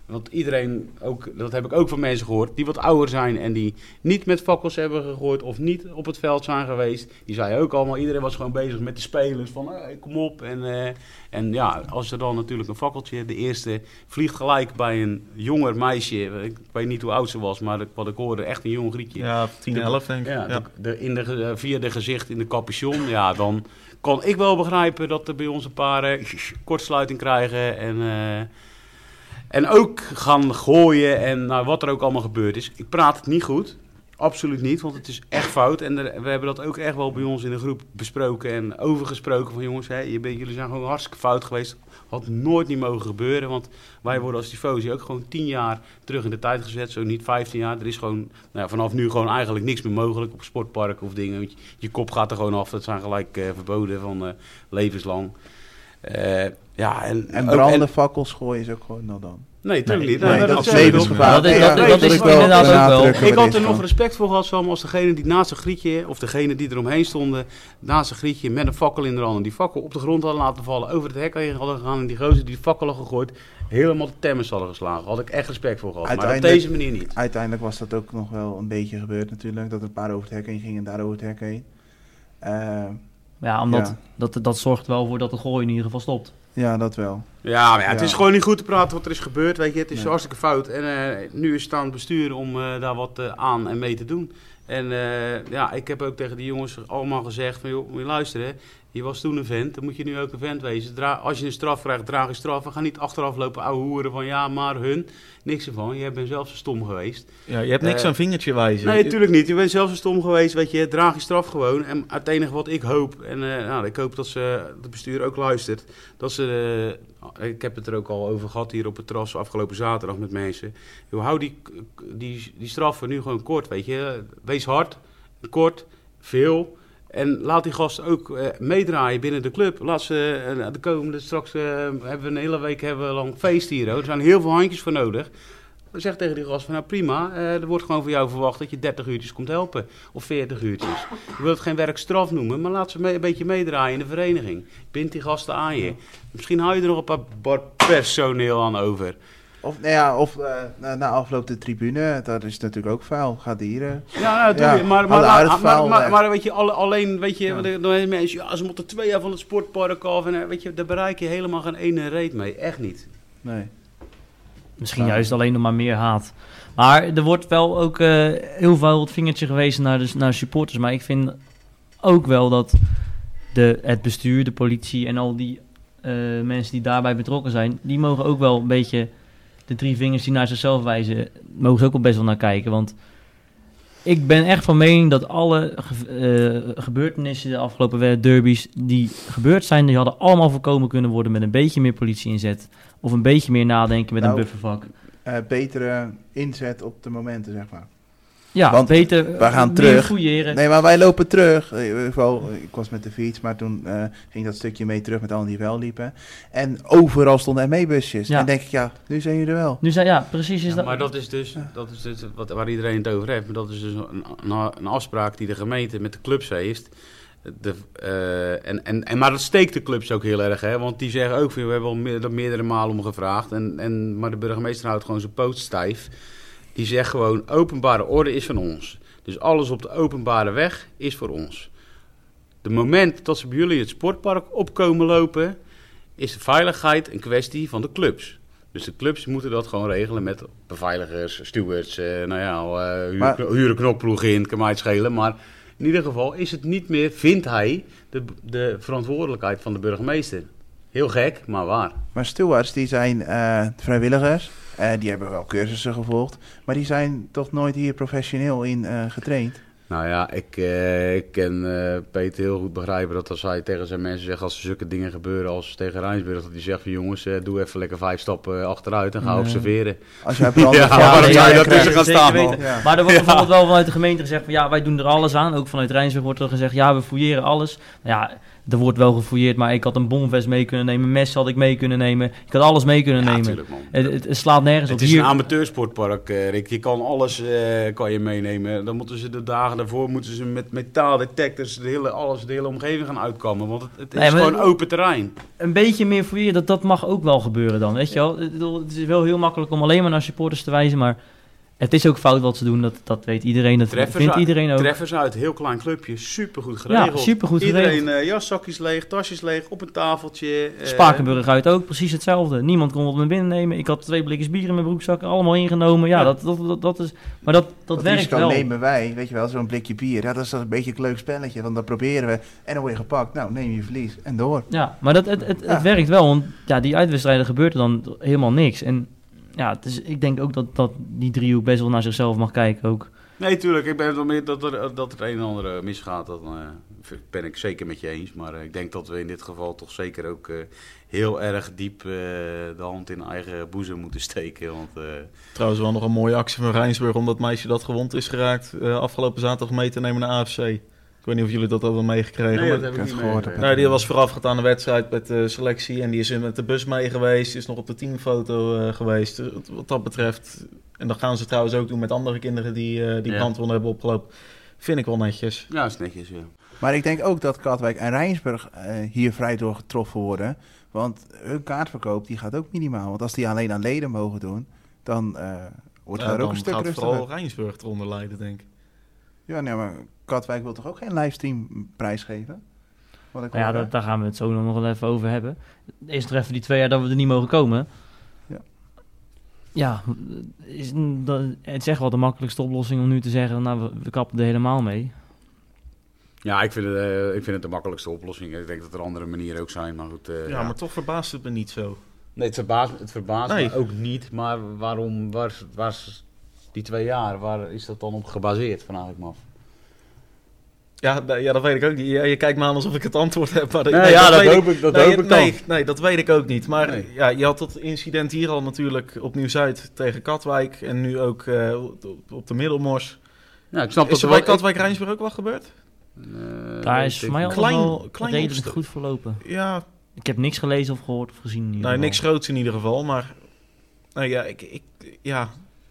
Want iedereen, ook, dat heb ik ook van mensen gehoord, die wat ouder zijn en die niet met fakkels hebben gegooid of niet op het veld zijn geweest. Die zei ook allemaal, iedereen was gewoon bezig met de spelers van, hey, kom op. En, eh, en ja, als er dan natuurlijk een fakkeltje, de eerste vliegt gelijk bij een jonger meisje. Ik weet niet hoe oud ze was, maar wat ik hoorde, echt een jong Griekje.
Ja, 10, 11 denk ik.
Ja,
Ja,
de- de- in de, ge- eh, via de gezicht in de capuchon. Ja, dan kan ik wel begrijpen dat er bij ons een paar eh, kortsluiting krijgen. En, eh, en ook gaan gooien en nou, wat er ook allemaal gebeurd is. Ik praat het niet goed. Absoluut niet, want het is echt fout. En er- we hebben dat ook echt wel bij ons in de groep besproken en overgesproken. Van jongens, hè, je bent, jullie zijn gewoon hartstikke fout geweest. Had nooit niet mogen gebeuren. Want wij worden als tifosi ook gewoon 10 jaar terug in de tijd gezet. Zo niet 15 jaar. Er is gewoon nou, ja, vanaf nu gewoon eigenlijk niks meer mogelijk op sportparken of dingen. Want je, je kop gaat er gewoon af. Dat zijn gelijk eh, verboden van eh, levenslang. Eh, ja, en,
En
ook-
branden, fakkels gooien is ook gewoon nou dan.
nee, natuurlijk
Nee,
niet.
nee,
Nou,
dat
dat
is
zeg ik
levens-
ook.
levensgevaar.
Dat
Dat is-
ja,
dat-
dat
dat
wil
is
ik wel
inderdaad ook wel.
benadrukken
Ik
bij
had
dit
er nog
van.
respect voor gehad, Sam, als degene die naast een grietje, of degene die eromheen stonden, naast een grietje met een fakkel in de hand, en die fakkel op de grond hadden laten vallen, over het hek heen hadden gegaan en die gozer die fakkel had gegooid, helemaal de temmers hadden geslagen. Had ik echt respect voor gehad. Maar op
Uiteindelijk-
deze manier niet.
Uiteindelijk was dat ook nog wel een beetje gebeurd natuurlijk. Dat er een paar over het hek heen gingen en daar over het hek heen. Eh,
Ja, omdat
Ja.
Dat, dat zorgt wel voor dat de gooi in ieder geval stopt.
ja, dat wel.
Ja, maar ja, het
Ja.
is gewoon niet goed te praten wat er is gebeurd. Weet je, het is
Nee.
hartstikke fout. En eh, nu is het aan het bestuur om eh, daar wat eh, aan en mee te doen. En eh, ja, ik heb ook tegen die jongens allemaal gezegd van... joh, moet je luisteren, je was toen een vent, dan moet je nu ook een vent wezen. Dra- als je een straf krijgt, draag je straf. We gaan niet achteraf lopen ouwe hoeren van ja, maar hun. Niks ervan, jij bent zelf zo stom geweest.
Ja, je hebt niks
Eh,
aan vingertje wijzen.
Nee, natuurlijk niet. Je bent zelf zo stom geweest, weet je. Draag je straf gewoon. En het enige wat ik hoop, en eh, nou, ik hoop dat ze, het bestuur ook luistert, dat ze, eh, ik heb het er ook al over gehad hier op het terras afgelopen zaterdag met mensen. Joh, hou die, die, die straffen nu gewoon kort, weet je. Wees hard, kort, veel. En laat die gasten ook eh, meedraaien binnen de club. Laat ze, eh, de komende, straks eh, hebben we een hele week hebben we lang feest hier. hoor. Er zijn heel veel handjes voor nodig. Zeg tegen die gast van, nou prima, eh, er wordt gewoon van jou verwacht dat je 30 uurtjes komt helpen. Of 40 uurtjes. Ik wil het geen werkstraf noemen, maar laat ze mee, een beetje meedraaien in de vereniging. Bind die gasten aan je. Misschien hou je er nog een paar bar personeel aan over.
Of, nou ja, of eh, na, na afloop de tribune, dat is natuurlijk ook vuil. Gaat hier. eh,
Ja, nou,
Ja,
natuurlijk. maar, maar,
hadden
maar,
aardig
maar,
verhaal,
maar,
eh.
maar weet je, alle- alleen, weet je,
Ja.
want er- dan zijn mensen, ja, ze moeten twee jaar van het sportpark af. En, eh, weet je, daar bereik je helemaal geen ene reet mee. Echt niet.
Nee.
Misschien
Ja.
juist alleen nog maar meer haat. Maar er wordt wel ook eh, heel veel het vingertje gewezen naar, de, naar supporters. Maar ik vind ook wel dat de, het bestuur, de politie en al die eh, mensen die daarbij betrokken zijn... die mogen ook wel een beetje de drie vingers die naar zichzelf wijzen... mogen ze ook wel best wel naar kijken. Want ik ben echt van mening dat alle ge- eh, gebeurtenissen de afgelopen we- derbies... die gebeurd zijn, die hadden allemaal voorkomen kunnen worden... met een beetje meer politie inzet. Of een beetje meer nadenken met
Nou,
een buffervak.
Eh, betere inzet op de momenten, zeg maar.
Ja,
Want
beter.
we gaan
meer
terug.
fouilleren.
Nee, maar wij lopen terug. Eh, in ieder geval, eh, Ik was met de fiets, maar toen eh, ging dat stukje mee terug met allen die wel liepen. En overal stonden ME-busjes.
Ja.
En denk ik, ja, nu zijn jullie er wel.
Nu zijn, ja, precies is
Ja,
dat.
maar dat is dus, dat is dus wat, waar iedereen het over heeft. Maar dat is dus een, een, een afspraak die de gemeente met de clubs heeft. De, eh, en, en, en, maar dat steekt de clubs ook heel erg, hè? want die zeggen ook, van, we hebben al meer, dat meerdere malen om gevraagd. En, en, maar de burgemeester houdt gewoon zijn poot stijf. Die zegt gewoon, openbare orde is van ons. Dus alles op de openbare weg is voor ons. De moment dat ze bij jullie het sportpark opkomen lopen, is de veiligheid een kwestie van de clubs. Dus de clubs moeten dat gewoon regelen met beveiligers, stewards, eh, nou ja, eh huur,
Maar-
huur een knokploeg in, kan mij het schelen. Maar in ieder geval is het niet meer, vindt hij, de, de verantwoordelijkheid van de burgemeester. Heel gek, maar waar.
Maar stewards, die zijn eh, vrijwilligers. Eh, die hebben wel cursussen gevolgd. Maar die zijn toch nooit hier professioneel in eh, getraind.
Nou ja, ik, eh, ik kan eh, Peter heel goed begrijpen dat als hij tegen zijn mensen zegt, als er zulke dingen gebeuren als tegen Rijnsburg, dat hij zegt van jongens, eh, doe even lekker vijf stappen eh, achteruit en ga
Nee.
observeren.
Als jij brand
Ja, waarom
nee,
zou je
ja,
dat
krijg
tussen
je
gaan
zeker
staan? man?
weten. Maar er wordt bijvoorbeeld wel vanuit de gemeente gezegd van ja, wij doen er alles aan. Ook vanuit Rijnsburg wordt er gezegd ja, we fouilleren alles. Nou Ja, er wordt wel gefouilleerd, maar ik had een bomvest mee kunnen nemen, een mes had ik mee kunnen nemen. Ik had alles mee kunnen
Ja,
nemen.
natuurlijk, man.
Het, het- het slaat nergens
Het
op.
is
Hier,
een amateursportpark, eh, Rick. Je kan alles eh, kan je meenemen. Dan moeten ze de dagen daarvoor moeten ze met metaaldetectors de hele, alles, de hele omgeving gaan uitkomen. Want het, het is
Nee, maar-
gewoon open terrein.
een beetje meer fouilleren, dat, dat mag ook wel gebeuren dan. Weet je wel? Ik bedoel, Het is wel heel makkelijk om alleen maar naar supporters te wijzen, maar het is ook fout wat ze doen. Dat, dat weet iedereen, dat
Treffers
vindt
uit,
iedereen ook.
Treffers uit, heel klein clubje, supergoed geregeld.
Ja, supergoed
Iedereen
geregeld.
eh, jaszakjes leeg, tasjes leeg, op een tafeltje. eh,
Spakenburg uit ook, precies hetzelfde. Niemand kon wat me binnennemen. Ik had twee blikjes bier in mijn broekzak, allemaal ingenomen. Ja,
Ja.
Dat, dat, dat, dat is... Maar dat, dat, werkt
risico
wel.
nemen wij, weet je wel, zo'n blikje bier. Ja, dat is toch een beetje een leuk spelletje, want dat proberen we. En dan word je gepakt. Nou, neem je verlies en door.
Ja, maar dat, het, het, het
Ja.
werkt wel, want ja, die uitwedstrijden gebeurt er dan helemaal niks. En ja, het is, ik denk ook dat, dat die driehoek best wel naar zichzelf mag kijken ook.
Nee, tuurlijk. Ik ben het wel meer dat er, dat er een en ander eh, misgaat. Dat eh, ben ik zeker met je eens. Maar eh, ik denk dat we in dit geval toch zeker ook eh, heel erg diep eh, de hand in eigen boezem moeten steken. Want eh,
Trouwens wel nog een mooie actie van Rijnsburg om dat meisje dat gewond is geraakt eh, afgelopen zaterdag mee te nemen naar AFC. Ik weet niet of jullie dat hebben meegekregen. maar-
heb ik niet gehoord.
meegekregen.
Nee, die was voorafgaand aan de wedstrijd met de selectie en die is met de bus mee geweest, is nog op de teamfoto eh, geweest. Dus wat- wat dat betreft, en dat gaan ze trouwens ook doen met andere kinderen die, eh, die
Ja.
brandwonden hebben opgelopen, vind ik wel netjes.
Ja, is netjes. Ja.
Maar ik denk ook dat Katwijk en Rijnsburg eh, hier vrij door getroffen worden. Want hun kaartverkoop die gaat ook minimaal. Want als die alleen aan leden mogen doen, dan eh, wordt
Ja,
daar ook
dan
een stuk
gaat
rustiger.
vooral Rijnsburg eronder lijden, denk ik.
Ja, nee, maar Katwijk wil toch ook geen livestream prijs geven? Wat ik
Nou ja,
hoor, hè?
dat, daar gaan we het zo nog wel even over hebben. Eerst nog even die twee jaar dat we er niet mogen komen.
Ja.
Ja, is, dat, het is echt wel de makkelijkste oplossing om nu te zeggen, nou, we, we kappen er helemaal mee.
Ja, ik vind, het, eh, ik vind het de makkelijkste oplossing. Ik denk dat er andere manieren ook zijn. Maar goed, eh,
Ja,
ja.
maar toch verbaast het me niet zo.
Nee, het verbaast, het verbaast
Nee.
me ook niet. Maar waarom was, was die twee jaar, waar is dat dan op gebaseerd? Vraag ik me af.
Ja, nee, ja, dat weet ik ook niet. Ja, je kijkt me aan alsof ik het antwoord heb. Maar
Nee, ja, dat
weet
hoop ik- dat
nee,
hoop ik dan.
nee, nee, dat weet ik ook niet. Maar
Nee.
ja, je had dat incident hier al natuurlijk op Nieuw-Zuid tegen Katwijk. En nu ook eh, op- op de Middelmors.
Nou, ik snap
Is
dat
er bij
er wel-
Katwijk-Rijnsburg ook wel gebeurd?
Eh,
daar
weet
is
ik
voor mij
niet.
alles
Klein-
wel
klein
redelijk
opstuk.
goed verlopen.
Ja,
Ik heb niks gelezen of gehoord of gezien. in ieder
nee,
geval.
niks groots in ieder geval. Maar nou ja, ik, ik, ja,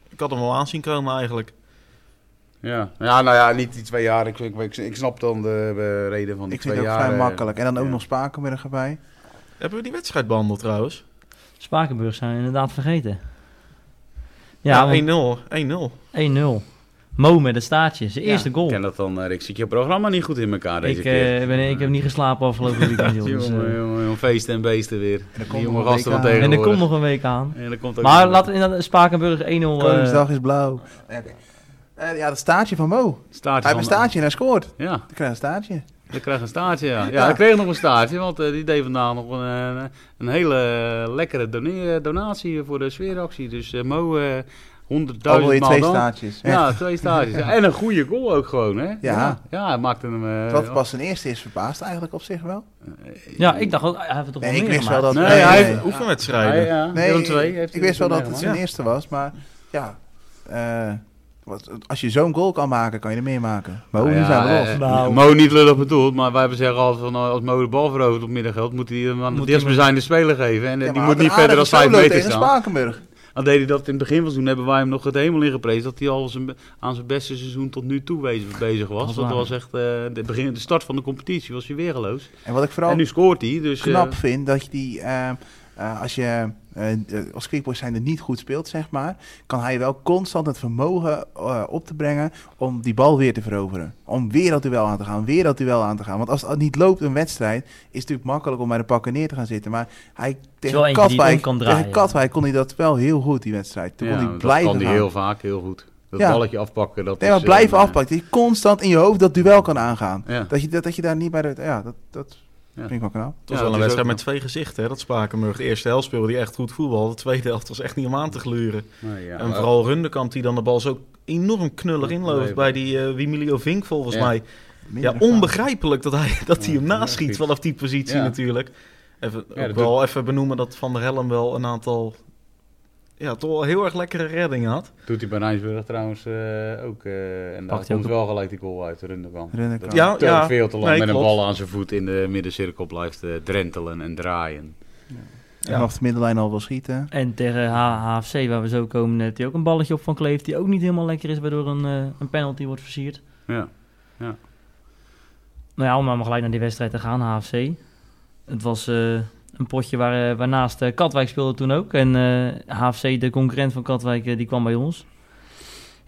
ik had hem al aan zien komen eigenlijk.
Ja. ja, nou ja, niet die twee jaar. Ik, ik, ik, ik snap dan de eh, reden van die
ik vind
twee
het ook
jaar.
vrij
eh.
makkelijk. En dan ook
ja.
nog Spakenburg erbij.
Hebben we die wedstrijd behandeld trouwens?
Spakenburg zijn we inderdaad vergeten. Ja,
Ja,
want
1-0. 1-0.
1-0. Mo met een staartje, zijn
Ja,
eerste goal.
Ik ken dat dan, eh, Rick. Zit je programma niet goed in elkaar deze
Ik,
keer?
eh, ben, ik heb niet geslapen afgelopen weekend, joh. dus, eh.
jongen, jongen, jongen, feesten en beesten weer.
komt
Die
nog
jonge
een
gasten van
WK.
en er komt
tegenwoordig.
nog een week aan.
En er komt ook
Maar
nog-
laten we inderdaad Spakenburg 1-0... eh
Koningsdag is blauw. Nee, oké. Eh, ja, dat staartje van Mo.
Staartje
Hij heeft een
van-
staartje en hij scoort.
Ja,
Ik krijg een staartje.
ik krijg een staartje. Ja, ja,
Ja.
ik kreeg nog een staartje, want eh, die deed vandaag nog een, eh, een hele eh, lekkere done- donatie voor de sfeeractie. Dus eh, Mo, eh 100.000
Al Oh, wil je
maal
twee
dank.
staartjes. Echt.
Ja, twee stages. Ja, en een goede goal ook gewoon, hè? Ja,
Ja.
ja hij maakte hem... eh,
Wat pas zijn eerste is verbaasd eigenlijk op zich wel.
eh,
ja, ik dacht, ook, hij heeft het toch
Nee,
wel
ik
meer
wist wel dat...
Nee, hij heeft-
nee.
Hij,
Oefenwedstrijden.
Ah, ja, Willem II heeft
ik
hij
wist wel dat het
meegemaakt.
zijn
Ja.
eerste was, maar ja. eh, wat, als je zo'n goal kan maken, kan je er meer maken. Maar hoe
Nou
nu zijn we
ja,
los?
eh,
Nou.
Mo niet lullig bedoeld, maar wij hebben zeggen als, van, als Mo de bal verovert op middengeld, moet hij hem aan de
Moet hij hem-
dichtstbijzijnde speler geven. En eh,
Ja,
die
maar
moet niet
Aardig
verder dan
solo
5 meter
tegen
staan.
Spakenburg.
Al Nou, deed hij dat in het begin van het seizoen, hebben wij hem nog het hemel in geprezen. Dat hij al zijn, aan zijn beste seizoen tot nu toe bezig, bezig
Dat
was.
is
Dat
waar.
was echt, eh, de, begin, de start van de competitie was hij weergeloos.
En wat ik vooral
En nu scoort hij, dus... eh,
knap vind, dat je die... eh, eh, eh, als je eh, eh, als quickboy zijnde niet goed speelt, zeg maar, kan hij wel constant het vermogen eh, op te brengen om die bal weer te veroveren. Om weer dat duel aan te gaan, weer dat duel aan te gaan. Want als het niet loopt een wedstrijd, is het natuurlijk makkelijk om bij de pakken neer te gaan zitten. Maar hij
wel
tegen
eentje die
Katwijk,
om kan
tegen
draaien.
Katwijk kon hij dat wel heel goed, die wedstrijd. Toen
Ja,
kon hij
dat
blijven
kan die
gaan.
heel vaak, heel goed. Dat
Ja.
balletje afpakken. Dat
Nee,
is,
maar blijven
eh,
afpakken. Dat je constant in je hoofd dat duel kan aangaan.
Ja.
Dat, je, dat, dat je daar niet bij de... Ja, dat, dat
Ja.
vind ik wel knap.
Het was
Ja,
wel een
dat is
wedstrijd
ook-
met twee gezichten, hè? dat Spakenburg. De eerste helft speelde die echt goed voetbal. De tweede helft was echt niet om aan te gluren.
nee, ja,
en
maar-
vooral Rundekamp die dan de bal zo enorm knullig inloopt
Nee.
bij die eh Wimilio Vink volgens
Ja.
mij.
Minder
Ja,
ervaring.
onbegrijpelijk dat hij, dat hij hem
Ja,
naschiet
precies.
vanaf die positie
Ja.
natuurlijk. Even,
Ja,
ook
dat
wel even benoemen dat Van der Helm wel een aantal... Ja, toch wel heel erg lekkere reddingen had.
Doet hij bij Rijnsburg trouwens eh, ook. eh, en daar
Pakt hij
komt
ook
wel gelijk die goal uit de Runderkamp.
Runderkamp.
Dat
Ja,
hij te
ja.
veel te lang
Nee,
met een
klopt.
bal aan zijn voet in de middencirkel blijft eh, drentelen en draaien.
En vanaf de middenlijn al wel schieten.
En tegen H- HFC, waar we zo komen, heeft hij ook een balletje op van Kleef... die ook niet helemaal lekker is, waardoor een, eh, een penalty wordt versierd.
Ja.
Nou ja, om maar gelijk naar die wedstrijd te gaan, HFC. Het was eh, een potje waar, eh, waarnaast eh, Katwijk speelde toen ook. En eh, HFC, de concurrent van Katwijk, eh, die kwam bij ons.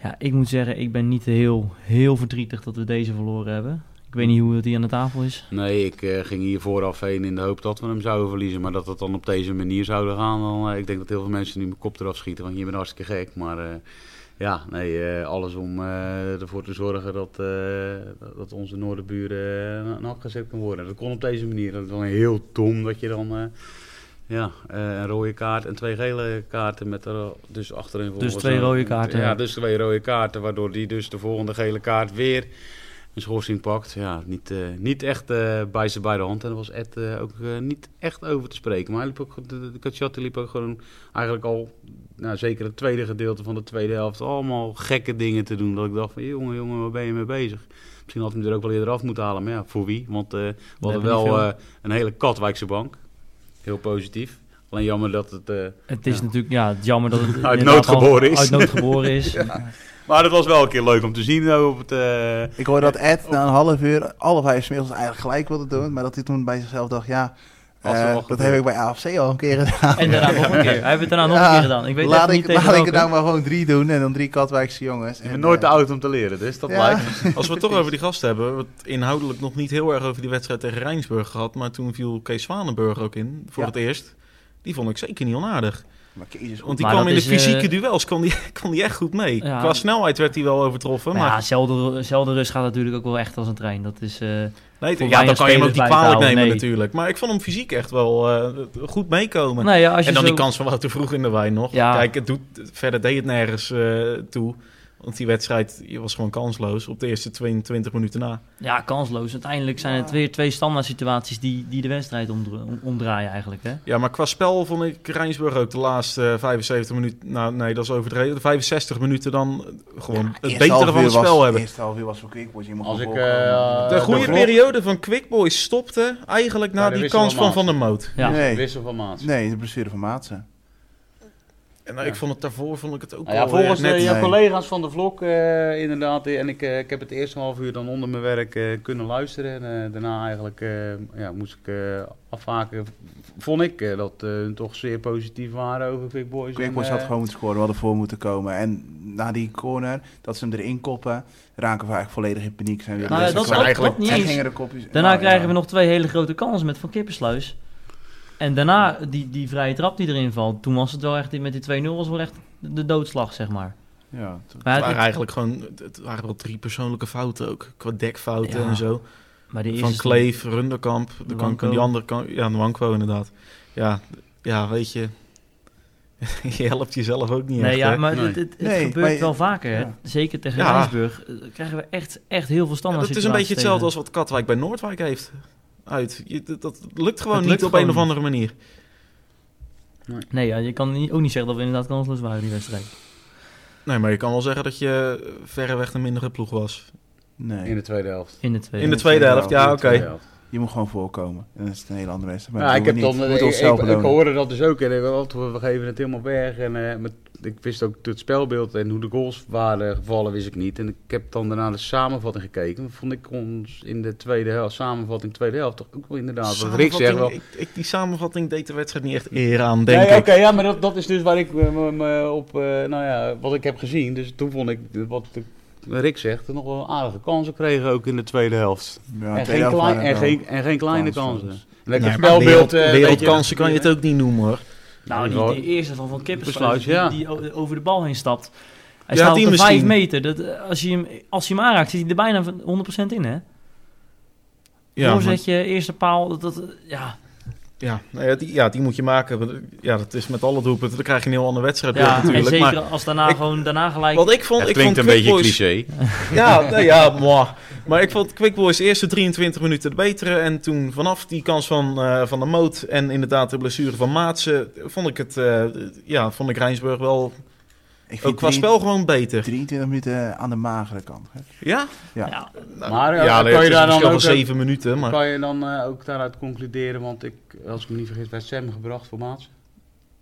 Ja, ik moet zeggen, ik ben niet heel, heel verdrietig dat we deze verloren hebben. Ik weet niet hoe het hier aan de tafel is.
Nee, ik eh, ging hier vooraf heen in de hoop dat we hem zouden verliezen. Maar dat het dan op deze manier zouden gaan. Dan, eh, ik denk dat heel veel mensen nu mijn kop eraf schieten. Want je bent hartstikke gek. Maar eh, ja, nee, eh, alles om eh, ervoor te zorgen dat, eh, dat onze noordenburen uh, afgezet kan worden. Dat kon op deze manier. Dat is dan heel dom dat je dan eh, ja, eh, een rode kaart en twee gele kaarten met er dus achterin volgens
twee
een-
rode kaarten, ja.
Ja, dus twee rode kaarten. Waardoor die dus de volgende gele kaart weer een schorsing pakt. Ja, niet, eh, niet echt eh, bij ze bij de hand. En daar was Ed eh, ook eh, niet echt over te spreken. Maar hij liep ook, de, de Cacciatti liep ook gewoon eigenlijk al, nou, zeker het tweede gedeelte van de tweede helft, allemaal gekke dingen te doen. Dat ik dacht van, jongen, jongen, waar ben je mee bezig? Misschien had hij hem er ook wel eerder af moeten halen. Maar ja, voor wie? Want eh, we hadden
hebben niet
wel
veel.
eh, een hele Katwijkse bank. Heel positief. Alleen jammer dat het... eh,
Het is
Ja.
natuurlijk ja, het is jammer dat het
Uit
inderdaad
nood
al
geboren is.
Uit nood geboren is.
Maar het was wel een keer leuk om te zien eh, op het... eh,
Ik hoorde dat Ed na een half uur alle vijf smiddels eigenlijk gelijk wilde doen. Maar dat hij toen bij zichzelf dacht, ja,
Als
eh,
er al
dat
gebeurt.
heb ik bij AFC al een keer gedaan.
En daarna nog een keer. Hij heeft het daarna nog een
Ja,
keer gedaan. Ik weet
laat
even
ik,
niet tegen
laat ik er
welke.
nou maar gewoon drie doen en dan drie Katwijkse jongens.
je
En,
bent nooit te
eh,
oud om te leren, dus dat
ja.
lijkt
Als we het toch over die gasten hebben, hebben we het inhoudelijk nog niet heel erg over die wedstrijd tegen Rijnsburg gehad. Maar toen viel Kees Zwanenburg ook in, voor
Ja.
het eerst. Die vond ik zeker niet onaardig.
Maar Kees
Want die
Maar
kwam in
dat
de
is,
fysieke
eh,
duels kwam die, kwam die echt goed mee.
Ja.
Qua snelheid werd hij wel overtroffen.
nou-
Maar
Maar
ja, zelden, zelden rust gaat natuurlijk ook wel echt als een trein. Dat is, eh,
nee,
voor
ja,
weinig
dan kan je hem ook
spelers
niet
blijven
kwalijk
houden,
nemen
nee.
natuurlijk. Maar ik vond hem fysiek echt wel eh, goed meekomen.
nou ja, als je
en dan
zo...
die kans van Wouter Vroeg in de wijn nog.
Ja.
Kijk, het doet, verder deed het nergens eh, toe. Want die wedstrijd je was gewoon kansloos op de eerste 22 minuten na.
Ja, kansloos. Uiteindelijk zijn
Ja.
het weer twee standaard situaties die, die de wedstrijd omdra- om- omdraaien eigenlijk. Hè?
Ja, maar qua spel vond ik Rijnsburg ook de laatste eh, 75 minuten... Nou, nee, dat is overdreven. De 65 minuten dan eh, gewoon het betere van het spel hebben.
Eerste half uur was voor Quickboys. je mocht
Als
wel
ik,
voorkomen.
eh,
De goede
de vlog-
periode van Quick Boys stopte eigenlijk na
Maar de
die
wissel
kans
van
van Van
Maas.
der Moot.
Ja.
nee,
Wissel van maat.
nee, de blessure van Maatsen.
En nou, ik vond het daarvoor vond ik het
Ah,
ook
Nou ja,
wel
volgens
eh, net...
eh, jouw
Nee.
collega's van de vlog eh, inderdaad. En ik, eh, ik heb het eerste half uur dan onder mijn werk eh, kunnen luisteren. En eh, daarna eigenlijk eh, ja, moest ik eh, afhaken. Vond ik eh, dat eh, hun toch zeer positief waren over Quick Boys.
Dus
en,
Quickboys
eh,
had gewoon moeten scoren, we hadden voor moeten komen. En na die corner, dat ze hem erin koppen, raken we eigenlijk volledig in paniek. Zijn weer
Nou ja,
de
dat,
eerste
dat,
kwart.
eigenlijk-
klopt niet
En
eens.
gingen de kopjes...
Daarna
nou,
krijgen
ja.
we nog twee hele grote kansen met Van Kippensluis. En daarna die, die vrije trap die erin valt. Toen was het wel echt, met die 2-0 was wel echt de doodslag, zeg maar.
Ja, toen-
Maar,
Het
het-
waren eigenlijk gewoon, het waren wel drie persoonlijke fouten ook. Qua dekfouten
Ja.
en zo.
maar de
Van
eerste-
Kleef, Runderkamp, de kank
Nwanko.
en die andere kank. Ja, Nwanko inderdaad. Ja, ja weet je. je helpt jezelf ook niet
Nee,
echt,
ja,
hè?
maar
Nee.
het, het, het
Nee,
gebeurt
maar-
wel vaker. hè.
ja.
Zeker tegen
Ja.
Rijnsburg eh, krijgen we echt, echt heel veel
Ja,
standaard
dat is een beetje
situaties tegen.
hetzelfde als wat Katwijk bij Noordwijk heeft. Uit. Je- dat, dat lukt gewoon
Het
niet
lukt
op
gewoon
een of
niet.
andere manier.
Nee, ja, je kan niet- ook niet zeggen dat we inderdaad kansloos waren die wedstrijd.
Nee, maar je kan wel zeggen dat je eh, verreweg de mindere ploeg was.
In
Nee,
de tweede helft.
In de tweede.
In de tweede helft, ja, oké.
Tweede helft.
je moet gewoon voorkomen. En dat is een hele andere wedstrijd.
Ja,
Maar
Nou, ik heb
niet.
dan, eh,
we moeten
ik,
onszelf
ik, ik
belonen.
hoorde dat dus ook en ik dacht, we geven het helemaal weg en eh, maar ik wist ook het spelbeeld en hoe de goals waren gevallen, wist ik niet. En ik heb dan daarna de samenvatting gekeken. Vond ik ons in de tweede helft, samenvatting tweede helft, toch ook wel inderdaad. Wat Rick zegt wel.
Samenvatting- ik- ik- die samenvatting deed de wedstrijd niet echt eer aan,
Nee,
denk
oké,
ik.
ja, maar dat, dat is dus waar ik eh, me me op, eh, nou ja, wat ik heb gezien. Dus toen vond ik, eh, wat de- Rick zegt, nog wel aardige kansen kregen ook in de tweede helft.
Ja,
en,
tweede
geen
helft
klein,
waren
en,
het wel.
geen, en geen kleine
kansen.
kansen. Lekker
Nee, maar
spelbeeld.
wereld-
eh, weet je.
wereldkansen kan je het ook niet noemen hoor.
Nou, die, die eerste van Van Kippersluis,
Besluit,
die,
ja.
die o- over de bal heen stapt. Hij
Ja,
staat
die
op de 5
misschien.
meter. Dat, eh, als, je hem, als je hem aanraakt, zit hij er bijna van 100% in, hè? Ja,
Ja, maar-
Voorzetje, eerste paal. Dat, dat, eh, ja.
ja, nou ja, die, ja, die moet je maken. Ja, dat is met alle doelpunten. Dan krijg je een heel andere wedstrijd
ja en
natuurlijk.
zeker
Maar
als daarna
ik-
gewoon daarna gelijk...
wat ik vond,
Het
ik
klinkt een
vond
beetje
Quick Boys-
cliché.
Ja, nou ja, moi. maar ik vond Quick Boys de eerste 23 minuten de betere. En toen vanaf die kans van, eh, van de Moot en inderdaad de blessure van Maatsen... vond ik, het, eh, ja, vond ik Rijnsburg wel
Ik vind
ook qua
drie-
spel gewoon beter.
23 minuten aan de magere kant. hè.
Ja?
Ja,
Nou,
Maar, eh,
ja,
kan je
het is
daar
een
dan
verschil
ook,
van
eh,
7 minuten, maar...
Kan je dan eh, ook daaruit concluderen, want ik, als ik me niet vergis, werd Sam gebracht voor Maats.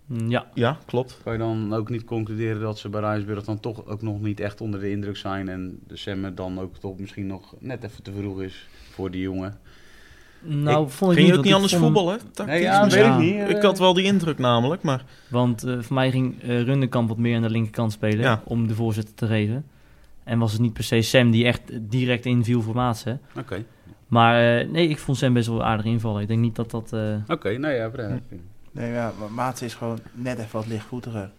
ja.
Ja, klopt.
Kan je dan ook niet concluderen dat ze bij Rijnsburg dan toch ook nog niet echt onder de indruk zijn en de Sam er dan ook toch misschien nog net even te vroeg is voor die jongen?
Nou, vond ik
Ging je
want
ook niet
ik
anders
vond hem-
voetballen? Tactisch
weet
misschien?
ik
niet. eh.
Ik had wel die indruk namelijk, maar...
Want eh, voor mij ging eh, Rundekamp wat meer aan de linkerkant spelen
Ja.
om de voorzitter te geven. En was het niet per se Sam die echt direct inviel voor Maatsen.
Oké,
Maar eh, nee, ik vond Sam best wel aardig invallen. Ik denk niet dat dat... eh,
oké, nou ja, prima.
Nee, ja, maar Maats is gewoon net even wat lichtvoetiger.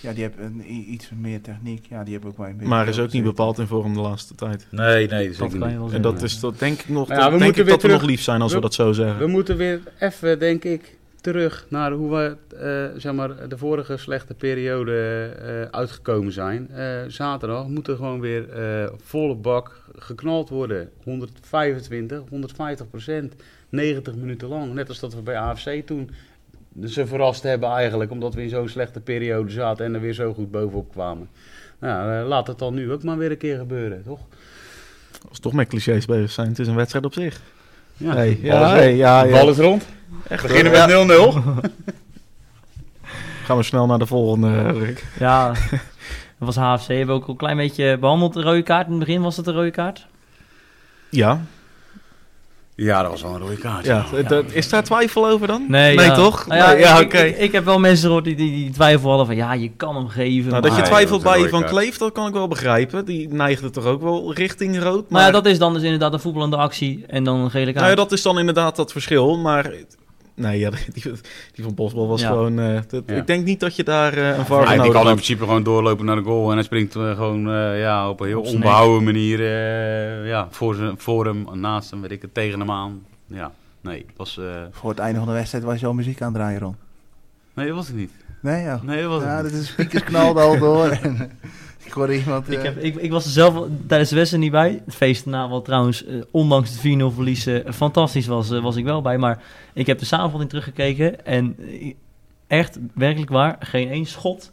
Ja, die heeft een, i- iets meer techniek. Ja, die heeft ook maar een beetje...
Maar is ook niet bepaald in vorm de laatste tijd.
Nee, nee,
Dat kan je
zeker niet.
wel
En
zeggen.
dat is dat denk ik nog.
Nou ja, we
denk
moeten
ik
weer
dat we nog
terug.
lief zijn als we,
We-
dat zo
We
zeggen.
moeten weer even, denk ik, terug naar hoe we eh, zeg maar, de vorige slechte periode eh, uitgekomen zijn. Eh, zaterdag moeten gewoon weer eh, volle bak geknald worden. 125, 150 procent, 90 minuten lang. Net als dat we bij AFC toen ze verrast hebben eigenlijk, omdat we in zo'n slechte periode zaten en er weer zo goed bovenop kwamen. Nou, eh, laat het dan nu ook maar weer een keer gebeuren, toch?
Als we toch met clichés bezig zijn, het is een wedstrijd op zich.
Ja,
Hey,
bal
ja,
is-
hey, ja, ja.
bal is rond.
Echt,
Beginnen
hoor.
met 0-0.
Gaan we snel naar de volgende, eh, Rick.
Ja, dat was HFC. Hebben we ook al een klein beetje behandeld. De rode kaart in het begin was het een rode kaart.
Ja,
Ja, dat was wel een rode kaart.
ja. dat- is daar twijfel over dan?
Nee, ja.
toch?
Nou ja,
Nee, ja,
ik-
oké.
ik, ik, ik heb wel mensen gehoord die, die, die twijfel hadden van ja, je kan hem geven.
Nou,
maar...
dat je
Nee,
twijfelt
dat is een
bij Van
rode kaart.
Kleef, dat kan ik wel begrijpen. Die neigde toch ook wel richting rood. Maar,
Maar ja, dat is dan dus inderdaad een voetballende actie en dan een gele kaart.
nou ja, dat is dan inderdaad dat verschil. Maar nee, ja, die, die van Bosbal was
Ja.
gewoon... eh, dat-
Ja.
Ik denk niet dat je daar eh, een
Ja,
var nodig
die kan in
hebt.
principe gewoon doorlopen naar de goal. En hij springt eh, gewoon eh, ja, op een heel
Op zijn
onbehouden manier eh, ja, voor, zijn- voor hem, naast hem, weet ik het, tegen hem aan. Ja, nee, het was, eh,
Voor het einde van de wedstrijd was je al muziek aan het draaien, Ron.
nee, dat was het niet.
Nee, ja.
Nee, dat was
Ja,
het
dat
niet.
is speakers knalden al door. en ik hoorde iemand...
Ik,
eh,
heb, ik, ik was er zelf wel- tijdens de wedstrijd niet bij. Het feest daarna wel trouwens, eh, ondanks het 4-0 verlies, eh, fantastisch was, eh, was ik wel bij. Maar ik heb de samenvatting teruggekeken en eh, echt, werkelijk waar, geen één schot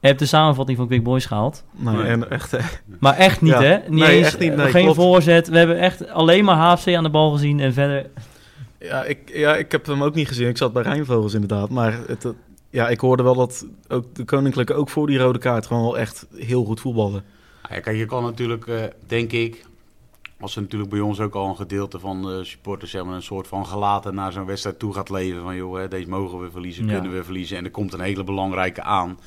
heb de samenvatting van Quick Boys gehaald.
Nee,
Nee.
en echt, eh,
Maar echt niet,
Ja.
hè? Niet
Nee,
eens,
echt niet.
eh,
Nee,
geen
klopt.
voorzet. We hebben echt alleen maar HFC aan de bal gezien en verder...
Dus,
Ja ik, ja, ik heb hem ook niet gezien. Ik zat bij Rijnvogels inderdaad. Maar het, het- ja, ik hoorde wel dat ook de Koninklijke ook voor die rode kaart gewoon wel echt heel goed voetballen.
Ah, ja, kijk, je kan natuurlijk, eh, denk ik, als er natuurlijk bij ons ook al een gedeelte van de supporters zeg maar, een soort van gelaten naar zo'n wedstrijd toe gaat leven. Van joh, hè, deze mogen we verliezen,
Ja.
kunnen we verliezen. En er komt een hele belangrijke aan.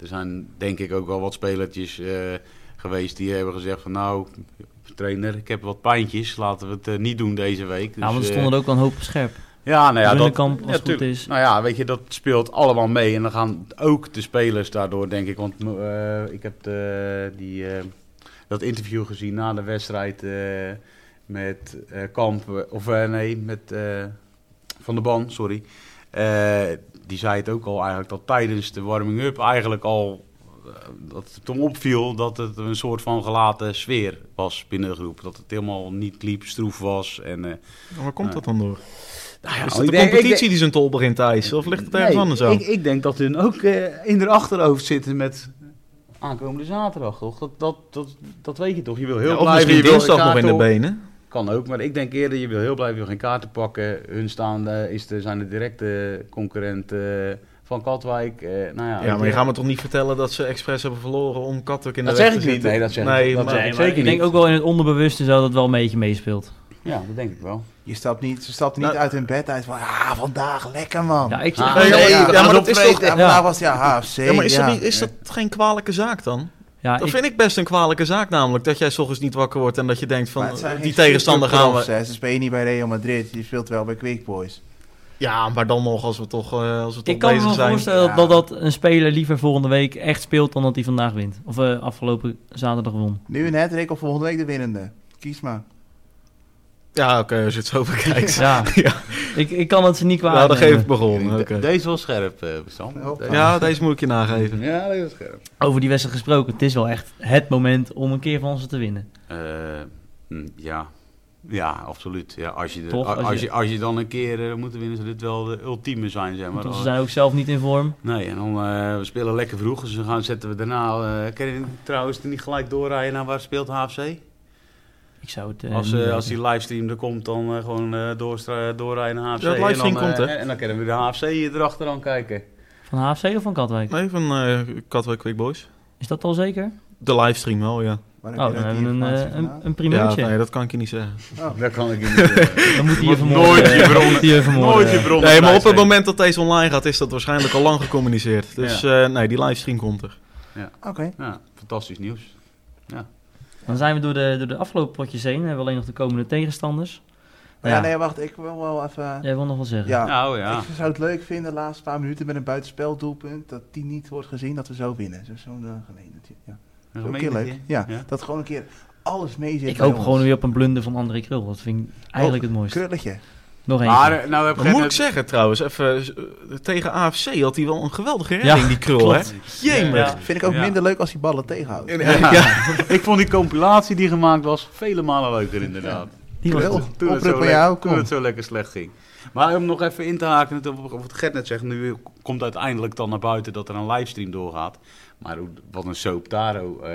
Er zijn denk ik ook wel wat spelertjes eh, geweest die hebben gezegd van nou, trainer, ik heb wat pijntjes, laten we het eh, niet doen deze week.
nou, want
Dus,
er
eh,
stonden er ook al een hoop op scherp.
ja, nou ja, dat,
Runnekamp, als
ja,
het goed
tuurlijk.
is.
Nou ja, weet je, dat speelt allemaal mee. En dan gaan ook de spelers daardoor, denk ik. Want eh, ik heb de, die, eh, dat interview gezien na de wedstrijd eh, met eh, Kamp, eh, of eh, nee, met eh, Van der Ban, sorry. Eh, die zei het ook al eigenlijk, dat tijdens de warming-up eigenlijk al... eh, Dat het toen opviel dat het een soort van gelaten sfeer was binnen de groep. Dat het helemaal niet liep, stroef was. En, eh,
waar komt
Ja.
dat dan door?
nou ja,
Is
ik
het de
denk- ik
competitie
denk-
die zijn tol begint te eisen? Of ligt het ergens
Nee,
anders aan?
Ik, ik denk dat hun ook eh, in haar achterhoofd zitten met aankomende zaterdag, toch? Dat, dat, dat, dat weet je toch? Je wil heel
Ja, of
blij
misschien
je wil
dinsdag
geen
nog in de
kaarten op-
benen.
Kan ook, maar ik denk eerder, je wil heel blij, je wil geen kaarten pakken. Hun staan, eh, is de, zijn de directe concurrent eh, van Katwijk. eh, nou ja,
Ja, maar je gaat me toch niet vertellen dat ze expres hebben verloren om Katwijk in de
Dat
weg
zeg ik
te
niet.
zitten?
Nee, dat zeg ik
Nee,
niet. Dat
maar-
zeg
Nee,
ik
maar
zeker
ik denk
niet.
ook wel in het onderbewuste zo dat het wel een beetje meespeelt.
Ja, dat denk ik wel.
Je stapt niet, ze stapt niet
Nou-
uit hun bed uit van, ah, vandaag, lekker man.
Ja, ik
Ah,
zeg,
Nee,
ja,
ja, maar-
we
ja,
gaan
maar
het
dat is
opvreten.
toch-
En
ja.
vandaag was ja, HFC.
Ja, maar is,
ja.
Dat, niet- is dat geen kwalijke zaak dan? dat
Ah, ik,
vind ik best een kwalijke zaak namelijk. Dat jij 's ochtends niet wakker wordt en dat je denkt van
Maar het zijn
eh,
geen
die tegenstander gaan
superprofs,
we...
hè. Ze spelen niet bij Real Madrid, je speelt wel bij Quick Boys.
Ja, maar dan nog als we toch, eh, als we toch
ik kan me
bezig
wel
zijn.
voorstellen
Ja.
dat, dat een speler liever volgende week echt speelt dan dat hij vandaag wint. Of eh, afgelopen zaterdag won.
Nu een hat of volgende week de winnende. Kies maar.
Ja, oké, als je het zo bekijkt. ja,
Ja, Ik, ik kan het ze niet kwaad
dat
nemen.
geef ik begonnen.
De-
oké.
Deze was scherp, eh Sam.
Hoppa.
Deze-
Ja, deze moet ik je nageven.
ja, deze was scherp.
Over die wedstrijd gesproken, het is wel echt het moment om een keer van ze te winnen.
Eh, hm, ja. ja, absoluut. Ja, als, je de-
Toch,
a-
als
als,
je-
je, als je dan een keer eh, moet winnen, zou dit wel de ultieme zijn, zeg maar.
Want ze
Als-
zijn ook zelf niet in vorm.
Nee, en dan eh, we spelen lekker vroeg, dus dan gaan, zetten we daarna... eh kan je trouwens niet gelijk doorrijden naar waar speelt HFC?
Ik zou het eh,
Als,
niet
eh,
weten.
als die livestream er komt, dan eh, gewoon eh, doorstra- doorrijden naar HFC.
Ja, het livestream
en dan, eh,
komt, hè?
En dan kunnen we de HFC hier erachteraan kijken.
Van HFC of van Katwijk?
Nee, van eh Katwijk Quick Boys.
Is dat al zeker?
De livestream wel, ja.
Waar
Oh,
heb je
dan
dat die
hebben we een, eh,
informatie
een,
vandaan?
een
Ja,
primeurtje.
nee, dat kan ik je niet zeggen.
Dat kan ik niet zeggen.
Dan moet hij hier
Wordt
vermoorden.
nooit je
eh,
bronnen.
moet hij hier vermoorden.
Nooit je bron.
Nee, maar op het moment dat deze online gaat, is dat waarschijnlijk al lang gecommuniceerd. Dus eh, nee, die livestream komt er.
Oké. Nou
Ja, fantastisch nieuws.
Dan zijn we door de, door de afgelopen potjes heen. Dan hebben we alleen nog de komende tegenstanders.
Maar ja,
Ja.
nee, wacht, ik wil wel even...
Jij wil nog wel zeggen?
Ja.
Nou ja.
Ik zou het leuk vinden, de laatste paar minuten met een buitenspeldoelpunt, dat die niet wordt gezien, dat we zo winnen. Zo- Zo'n eh, gemeentetje. Ja.
Een
Ook heel
gemeentetje.
leuk. Ja,
Ja.
dat gewoon een keer alles mee zit.
Ik
bij
hoop
ons.
gewoon weer op een blunder van André Krul. Dat vind ik eigenlijk
Oh,
het mooiste.
Krulletje.
Nog één.
Maar eh, nou heb
Dat moet ik
ik
zeggen trouwens, even eh, tegen AFC had hij wel een geweldige
Ja,
redding, die krul, hè?
klopt.
Jemig.
Ja.
Vind ik ook
Ja.
minder leuk als die ballen tegenhoudt.
Ja. Ik vond die compilatie die gemaakt was vele malen leuker inderdaad.
Die was
Krul.
goed.
Toen, het
Oproep
zo,
van
le-
jou,
toen
kom.
het zo lekker slecht ging. Maar om nog even in te haken op op wat Gert net zegt. Nu komt uiteindelijk dan naar buiten dat er een livestream doorgaat. Maar hoe- wat een soap taro eh,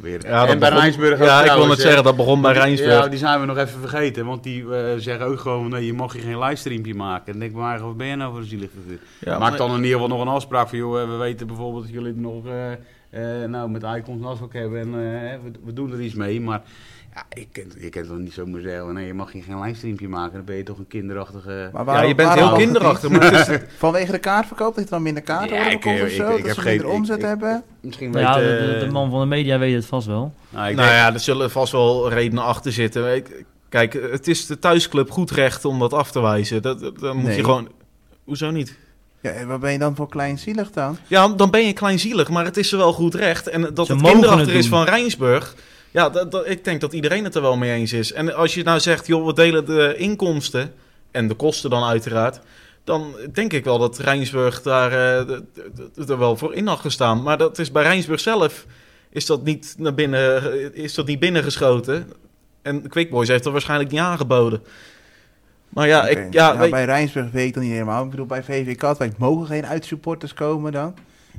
weer.
Ja, dat
en bij
begon-
Rijnsburg ook
Ja, ik wil
trouwens,
net
hè.
zeggen, dat begon bij Rijnsburg.
Ja, die zijn we nog even vergeten. Want die eh, zeggen ook gewoon, nee, je mag hier geen livestreampje maken. En denk ik, maar wat ben je nou voor een zielig figuur?
Ja,
Maak
maar-
dan in ieder geval nog een afspraak van, joh, eh, we weten bijvoorbeeld dat jullie het nog eh, eh, nou, met icons een afspraak hebben. En eh, we, we doen er iets mee, maar ja, ik kan je kan toch niet zomaar zeggen, nee, je mag hier geen livestreampje maken. Dan ben je toch een kinderachtige...
Maar
Ja,
waarom-
je bent
waarom
heel
wordt het
kinderachtig, maar het is-
niet? Vanwege de kaartverkoop, dat er dan minder kaarten
Ja,
worden
ik-
verkocht of
ik-
zo,
ik
dat
heb
ze
geen-
minder
ik-
omzet
ik-
hebben.
Misschien weet...
Ja, de,
eh,
de- de man van de media weet het vast wel.
nou, ik
nou
denk-
ja, er zullen vast wel redenen achter zitten. Ik- Kijk, het is de thuisclub goed recht om dat af te wijzen. Dat, dat, dan moet
Nee.
je gewoon... Hoezo niet?
Ja, en wat ben je dan voor kleinzielig dan?
Ja, dan ben je kleinzielig, maar het is er wel goed recht. En dat
Ze
het
mogen
kinderachter
het
is
doen.
van Rijnsburg, ja, dat, dat, ik denk dat iedereen het er wel mee eens is. En als je nou zegt, joh, we delen de inkomsten en de kosten dan uiteraard, dan denk ik wel dat Rijnsburg daar eh, d- d- d- er wel voor in had gestaan. Maar dat is bij Rijnsburg zelf, is dat niet, naar binnen, eh, is dat niet binnengeschoten. En Quick Boys heeft dat waarschijnlijk niet aangeboden. Maar ja,
Oké.
ik, ja, weet-
nou, bij Rijnsburg weet ik dan niet helemaal. Ik bedoel, bij VV Katwijk mogen geen uitsupporters komen dan.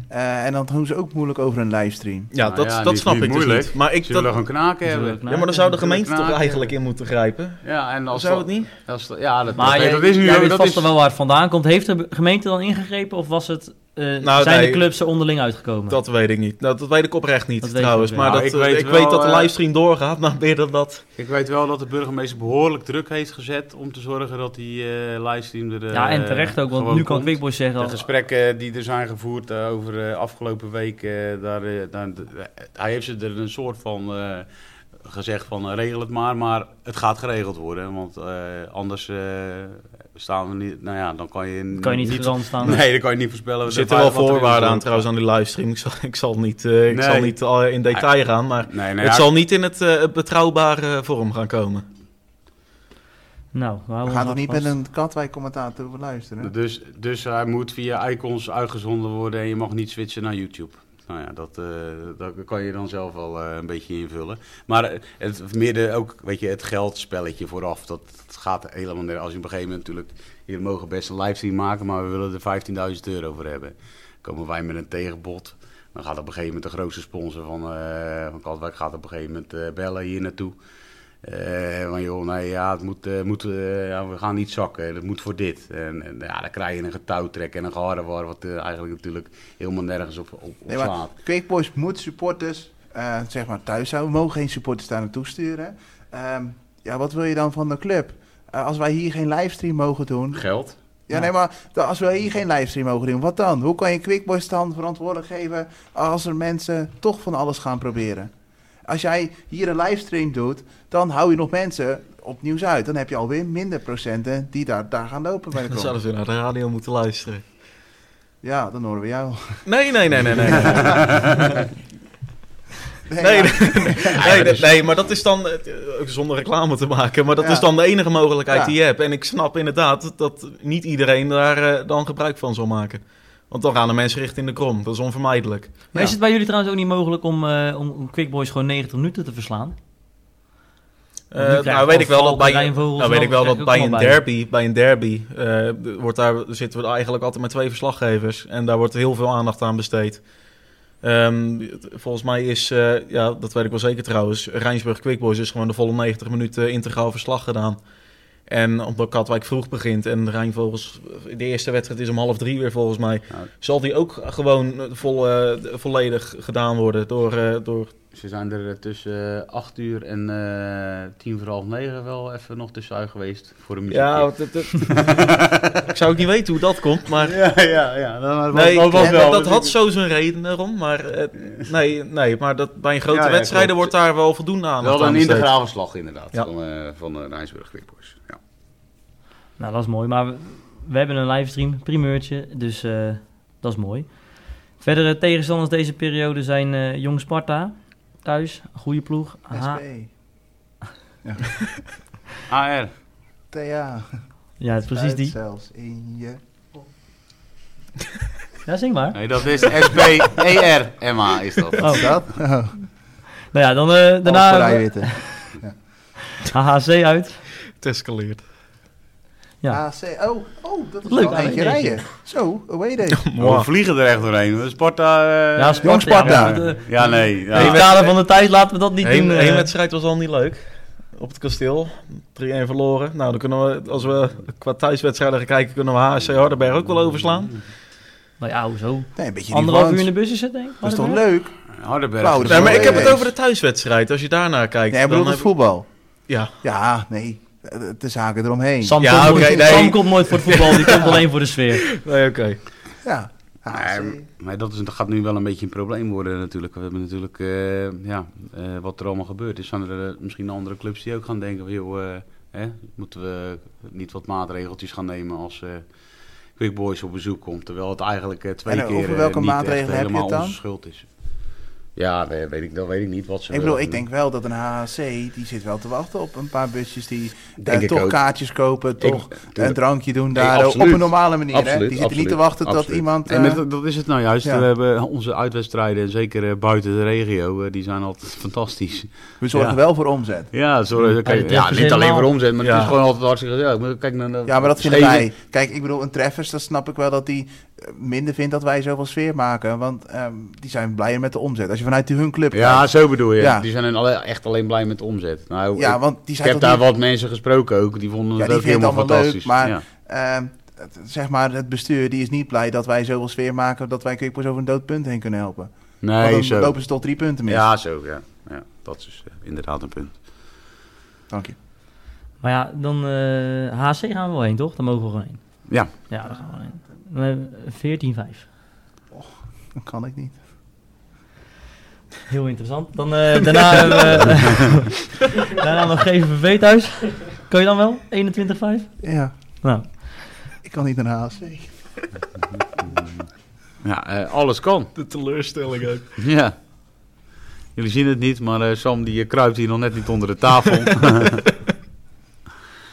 Eh, en dan doen ze ook moeilijk over een livestream.
ja,
Nou
dat,
ja,
dat
niet-
snap
niet
ik
moeilijk.
dus niet. Maar ik,
Zullen we
dat,
gewoon knaken
Zullen we
hebben?
knaken?
ja, maar dan zou de
Zullen we
gemeente toch
knaken?
eigenlijk in moeten grijpen.
Ja, en als
zou
dat-
het niet?
Als, dat- ja, dat,
Maar
dat-
jij,
dat is nu
jij
ook-
weet
dat
vast
is,
al wel waar het vandaan komt. Heeft de gemeente dan ingegrepen of was het, eh,
Nou,
zijn
nee.
de clubs er onderling uitgekomen?
Dat weet ik niet. Nou, dat weet ik oprecht niet
Dat weet
trouwens.
je
Maar
wel.
dat,
Nou,
eh, ik, weet,
wel,
dat de
eh,
livestream doorgaat, maar meer dan dat.
Ik weet wel dat de burgemeester behoorlijk druk heeft gezet om te zorgen dat die eh, livestream er. eh,
ja, en terecht ook, want
gewoon
nu kan
komt.
Quickboys zeggen... oh,
De gesprekken die er zijn gevoerd eh, over de afgelopen week, eh, daar, eh, daar- d- eh, hij heeft ze er een soort van eh, gezegd van eh, regel het maar, maar het gaat geregeld worden, want eh, anders eh, staan we niet, nou ja, dan kan je, n-
kan je niet gerand staan.
nee, dan kan je niet voorspellen.
Er
wat
zitten wel
wat erin
voorwaarden aan
komt.
trouwens aan die livestream. Ik zal, ik zal niet, eh, ik
Nee.
zal niet al in detail gaan, maar
Nee, nee,
het
ja,
zal niet in het eh, betrouwbare vorm gaan komen.
Nou, we
We
houden
gaan
ons
toch niet
vast.
met een Katwijk-commentator beluisteren?
Dus, dus hij moet via icons uitgezonden worden en je mag niet switchen naar YouTube. Nou ja, dat, eh, dat kan je dan zelf wel eh, een beetje invullen. Maar eh, het midden ook, weet je, het geldspelletje vooraf, dat, dat gaat helemaal nergens. Als je op een gegeven moment natuurlijk, jullie mogen best een livestream maken, maar we willen er 15.000 euro voor hebben. Komen wij met een tegenbod, dan gaat op een gegeven moment de grootste sponsor van, eh van Katwijk gaat op een gegeven moment eh, bellen hier naartoe. eh van joh, nee, ja, het moet, eh, moet, eh, ja, we gaan niet zakken, dat moet voor dit. En, en ja, dan krijg je een getouwtrek en een geharrewar, wat eh, eigenlijk natuurlijk helemaal nergens op, op, op
Nee, maar
slaat.
Quick Boys moet supporters, eh, zeg maar thuis houden. We mogen geen supporters daar naartoe sturen. Ehm, ja, wat wil je dan van de club? Eh, als wij hier geen livestream mogen doen.
Geld.
Ja, nee, maar da- als wij hier geen livestream mogen doen, wat dan? Hoe kan je Quick Boys dan verantwoordelijk geven als er mensen toch van alles gaan proberen? Als jij hier een livestream doet, dan hou je nog mensen opnieuw uit. Dan heb je alweer minder procenten die daar, daar gaan lopen bij de
Dan
klok.
zouden ze naar de radio moeten luisteren.
Ja, dan horen we jou.
Nee, nee, nee, nee, nee.
Nee,
Nee,
ja. dus-
nee, nee, nee, nee, maar dat is dan, eh, ook zonder reclame te maken, maar dat
Ja.
is dan de enige mogelijkheid
Ja.
die je hebt. En ik snap inderdaad dat, dat niet iedereen daar eh, dan gebruik van zal maken. Want dan gaan de mensen richting de krom, dat is onvermijdelijk.
Maar
Ja.
is het bij jullie trouwens ook niet mogelijk om, eh om om Quick Boys gewoon 90 minuten te verslaan?
Eh,
Want nu krijg je
nou weet ik wel dat
Valken,
bij,
Rijnvogels
nou, weet
en
ik wel
alles
dat
krijg
bij
je
een
ook allemaal
derby, bij een derby eh, wordt daar, zitten we eigenlijk altijd met twee verslaggevers. En daar wordt heel veel aandacht aan besteed. Ehm, volgens mij is, eh, ja, dat weet ik wel zeker trouwens, Rijnsburg Quickboys is gewoon de volle 90 minuten integraal verslag gedaan. En omdat Katwijk vroeg begint en Rijnvogels, de eerste wedstrijd is om half drie weer volgens mij,
Nou,
zal die ook gewoon eh, vol, eh, volledig gedaan worden door, eh, door
Ze zijn er eh, tussen eh, 8 uur en eh, tien voor half negen wel even nog tussenuit geweest voor een muziekje.
Ja, want het- het- ik zou ook niet weten hoe dat komt, maar...
ja, ja, ja. Dat was,
Nee,
dat was
en
wel.
dat, dat had zo zijn reden erom, maar, eh, nee, nee, maar dat, bij een grote
Ja, ja,
wedstrijden
klopt.
wordt daar wel voldoende aan.
Wel
aan
een
besteed.
integrale slag inderdaad
Ja.
van, eh van eh Rijnsburg Quickboys. Ja.
Nou, dat is mooi. Maar we, we hebben een livestream, primeurtje, dus eh, dat is mooi. Verdere tegenstanders deze periode zijn eh, Jong Sparta, thuis, goede ploeg. Aha.
SP,
AR.
TA.
Ja, het is precies
Uit
die.
Zelfs in je...
Ja, zeg maar.
Nee, dat is E SBER. MA is dat.
Oh,
Dat?
nou ja, dan eh, daarna
Daarna...
hebben we HHC uit.
Het escaleert.
Ja.
AC. Oh, oh, dat is
Leuk,
wel een eentje
aan een
rijden. Zo, away day.
We vliegen er echt doorheen. Sparta... eh,
Ja,
Jong Sparta.
Ja, dat, eh,
ja, nee. Ja.
in het kader van de tijd laten we dat niet
Eén
doen. eh.
één wedstrijd was al niet leuk. Op het kasteel, 3-1 verloren. Nou, dan kunnen we, als we qua thuiswedstrijden gaan kijken, kunnen we HSC Hardenberg ook wel overslaan.
Nou ja, hoezo?
Nee, een beetje
Anderhalf uur in
revanche.
de busje zitten, denk ik.
Dat is toch
Hardenberg?
leuk?
Hardenberg.
Nou, dat is
Nee, maar ik heb het
eens.
over de thuiswedstrijd. Als je daarnaar kijkt,
Nee, ik bedoel
dan
het
heb-
voetbal.
Ja,
Ja, nee. Het is haken eromheen.
Sam,
Ja,
komt
oké,
nooit,
nee.
Sam komt nooit voor het voetbal, die komt alleen voor de sfeer.
nee, oké.
Ja.
Nee,
AC.
maar dat, is, dat gaat nu wel een beetje een probleem worden natuurlijk. We hebben natuurlijk, eh, ja, eh, wat er allemaal gebeurd is, zijn er eh, misschien andere clubs die ook gaan denken van, joh, eh, hè, moeten we niet wat maatregeltjes gaan nemen als eh Quick Boys op bezoek komt. Terwijl het eigenlijk eh, twee
En
keer
over
eh,
welke
niet echt
maatregelen heb je
helemaal
het dan?
onze schuld is. Ja, nee, weet ik, dat weet ik niet wat ze
Ik bedoel,
willen.
ik denk wel dat een HHC, die zit wel te wachten op een paar busjes die eh,
Denk ik
toch
ook.
kaartjes kopen, toch
Ik-
een drankje doen
Nee,
daar, eh, op
absoluut.
een normale manier. hè?
Absoluut,
Die zitten niet
absoluut,
te wachten tot
absoluut.
iemand...
Nee, maar
eh,
dat, dat is het nou juist.
ja.
We hebben onze uitwedstrijden, en zeker eh, buiten de regio, eh, die zijn altijd fantastisch.
we zorgen
ja.
wel voor omzet.
Ja,
Hmm.
sorry,
Ja,
kijk,
dat
ja,
is
niet
helemaal-
alleen voor omzet, maar
Ja.
het is gewoon altijd hartstikke gezellig. Maar Kijk, naar de-
Ja, maar dat vinden
Scheven-
wij. Kijk, ik bedoel, een Treffers, dat snap ik wel dat die eh, minder vindt dat wij zoveel sfeer maken. Want ehm, die zijn blijer met de omzet. Als je vanuit hun club
Ja,
kijkt.
zo bedoel je.
Ja.
Die zijn dan alle- echt alleen blij met de omzet. Nou,
ja
ik,
want die
ik
zijn
heb
toch
daar
niet-
wat mensen gesproken ook, die vonden
Ja,
het
die
ook
vinden
helemaal
het allemaal leuk,
fantastisch.
maar-
ja.
ehm, het- zeg maar, het bestuur die is niet blij dat wij zoveel sfeer maken dat wij Quickboys over een dood punt heen kunnen helpen. want
Nee,
dan
zo.
lopen ze tot drie punten mis.
Ja, zo, ja. ja. Dat is dus, eh, inderdaad een punt.
Dank je.
Maar ja, dan eh HC gaan we wel heen, toch? Dan mogen we gewoon heen.
Ja.
Ja, daar gaan we heen. Dan hebben we 14-5.
Dat kan ik niet.
Heel interessant. Dan, eh, daarna hebben we, daarna hebben we GVV thuis. Kan je dan wel? 21-5?
Ja,
Nou,
ik kan niet naar HC.
Ja, eh, alles kan.
De teleurstelling ook.
Ja. Jullie zien het niet, maar eh, Sam die eh, kruipt hier nog net niet onder de tafel.
ik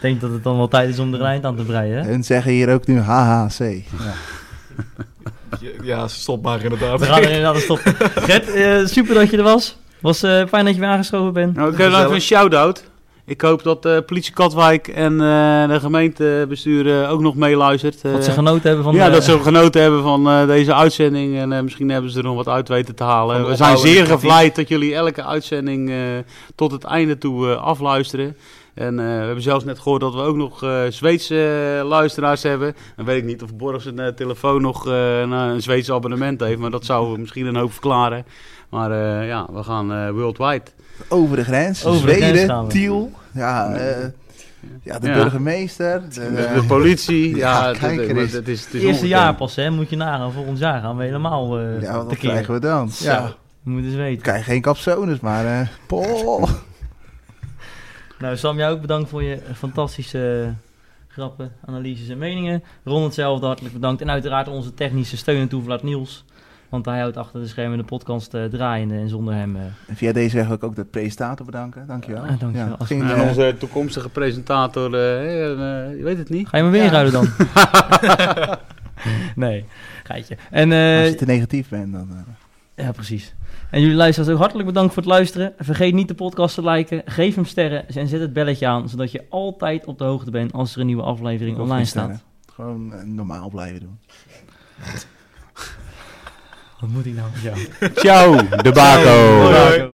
denk dat het dan wel tijd is om er een eind aan te breien, hè?
En zeggen hier ook nu HHC. Ja.
Ja, stop maar inderdaad.
We gaan er inderdaad aan stoppen. Gert, eh, super dat je er was. Was eh, fijn dat je weer aangeschoven bent.
nou, kun je nog even een shout-out? Ik hoop dat eh, politie Katwijk en eh, de gemeentebestuur eh, ook nog meeluistert. eh.
Dat ze genoten hebben van
ja,
de-
eh,
dat ze genoten hebben van eh, deze uitzending. En eh, misschien hebben ze er nog wat uit weten te
Van
halen.
de
We zijn
opbouw en
zeer
de kritiek.
gevleid dat jullie elke uitzending eh, tot het einde toe eh, afluisteren. En eh, we hebben zelfs net gehoord dat we ook nog eh, Zweedse eh, luisteraars hebben. Dan weet ik niet of Borg zijn eh, telefoon nog eh, nou, een Zweedse abonnement heeft. Maar dat zou misschien een hoop verklaren. Maar eh, ja, we gaan eh, worldwide.
Over de grens,
Over de grens
Zweden,
gaan we.
Tiel. Ja, eh, ja de
Ja.
burgemeester. De,
De, de politie,
Eh, Ja,
ja, het-
kijk
het-
er
het
eens.
is, het is
Het eerste
ongekend.
jaar pas, hè? Moet je nagaan. Volgend jaar gaan we helemaal eh
ja, wat
tekeer.
krijgen we dan? Ja,
Zo, moet eens
we
weten.
krijgen geen capsones, maar... eh poh.
Nou, Sam, jij ook bedankt voor je fantastische eh, grappen, analyses en meningen. Ron, hetzelfde, hartelijk bedankt. En uiteraard onze technische steun en toevlaat Niels. Want hij houdt achter de schermen de podcast eh, draaiende. En zonder hem... eh,
En via deze weg wil ik ook de presentator bedanken. Dankjewel.
Ah, dankjewel.
Ja, ging,
En
eh,
onze toekomstige presentator, eh, eh, je weet het niet.
Ga je me weer
Ja.
ruilen dan? nee, geitje. En, eh,
als je te negatief bent, dan... eh,
Ja, precies. En jullie luisteraars ook hartelijk bedankt voor het luisteren. Vergeet niet de podcast te liken. Geef hem sterren en zet het belletje aan, zodat je altijd op de hoogte bent als er een nieuwe aflevering
Of
online
niet
staat.
sterren. Gewoon eh, normaal blijven doen.
Wat moet ik nou? Ja.
Ciao, de Baco.
Hoi, hoi.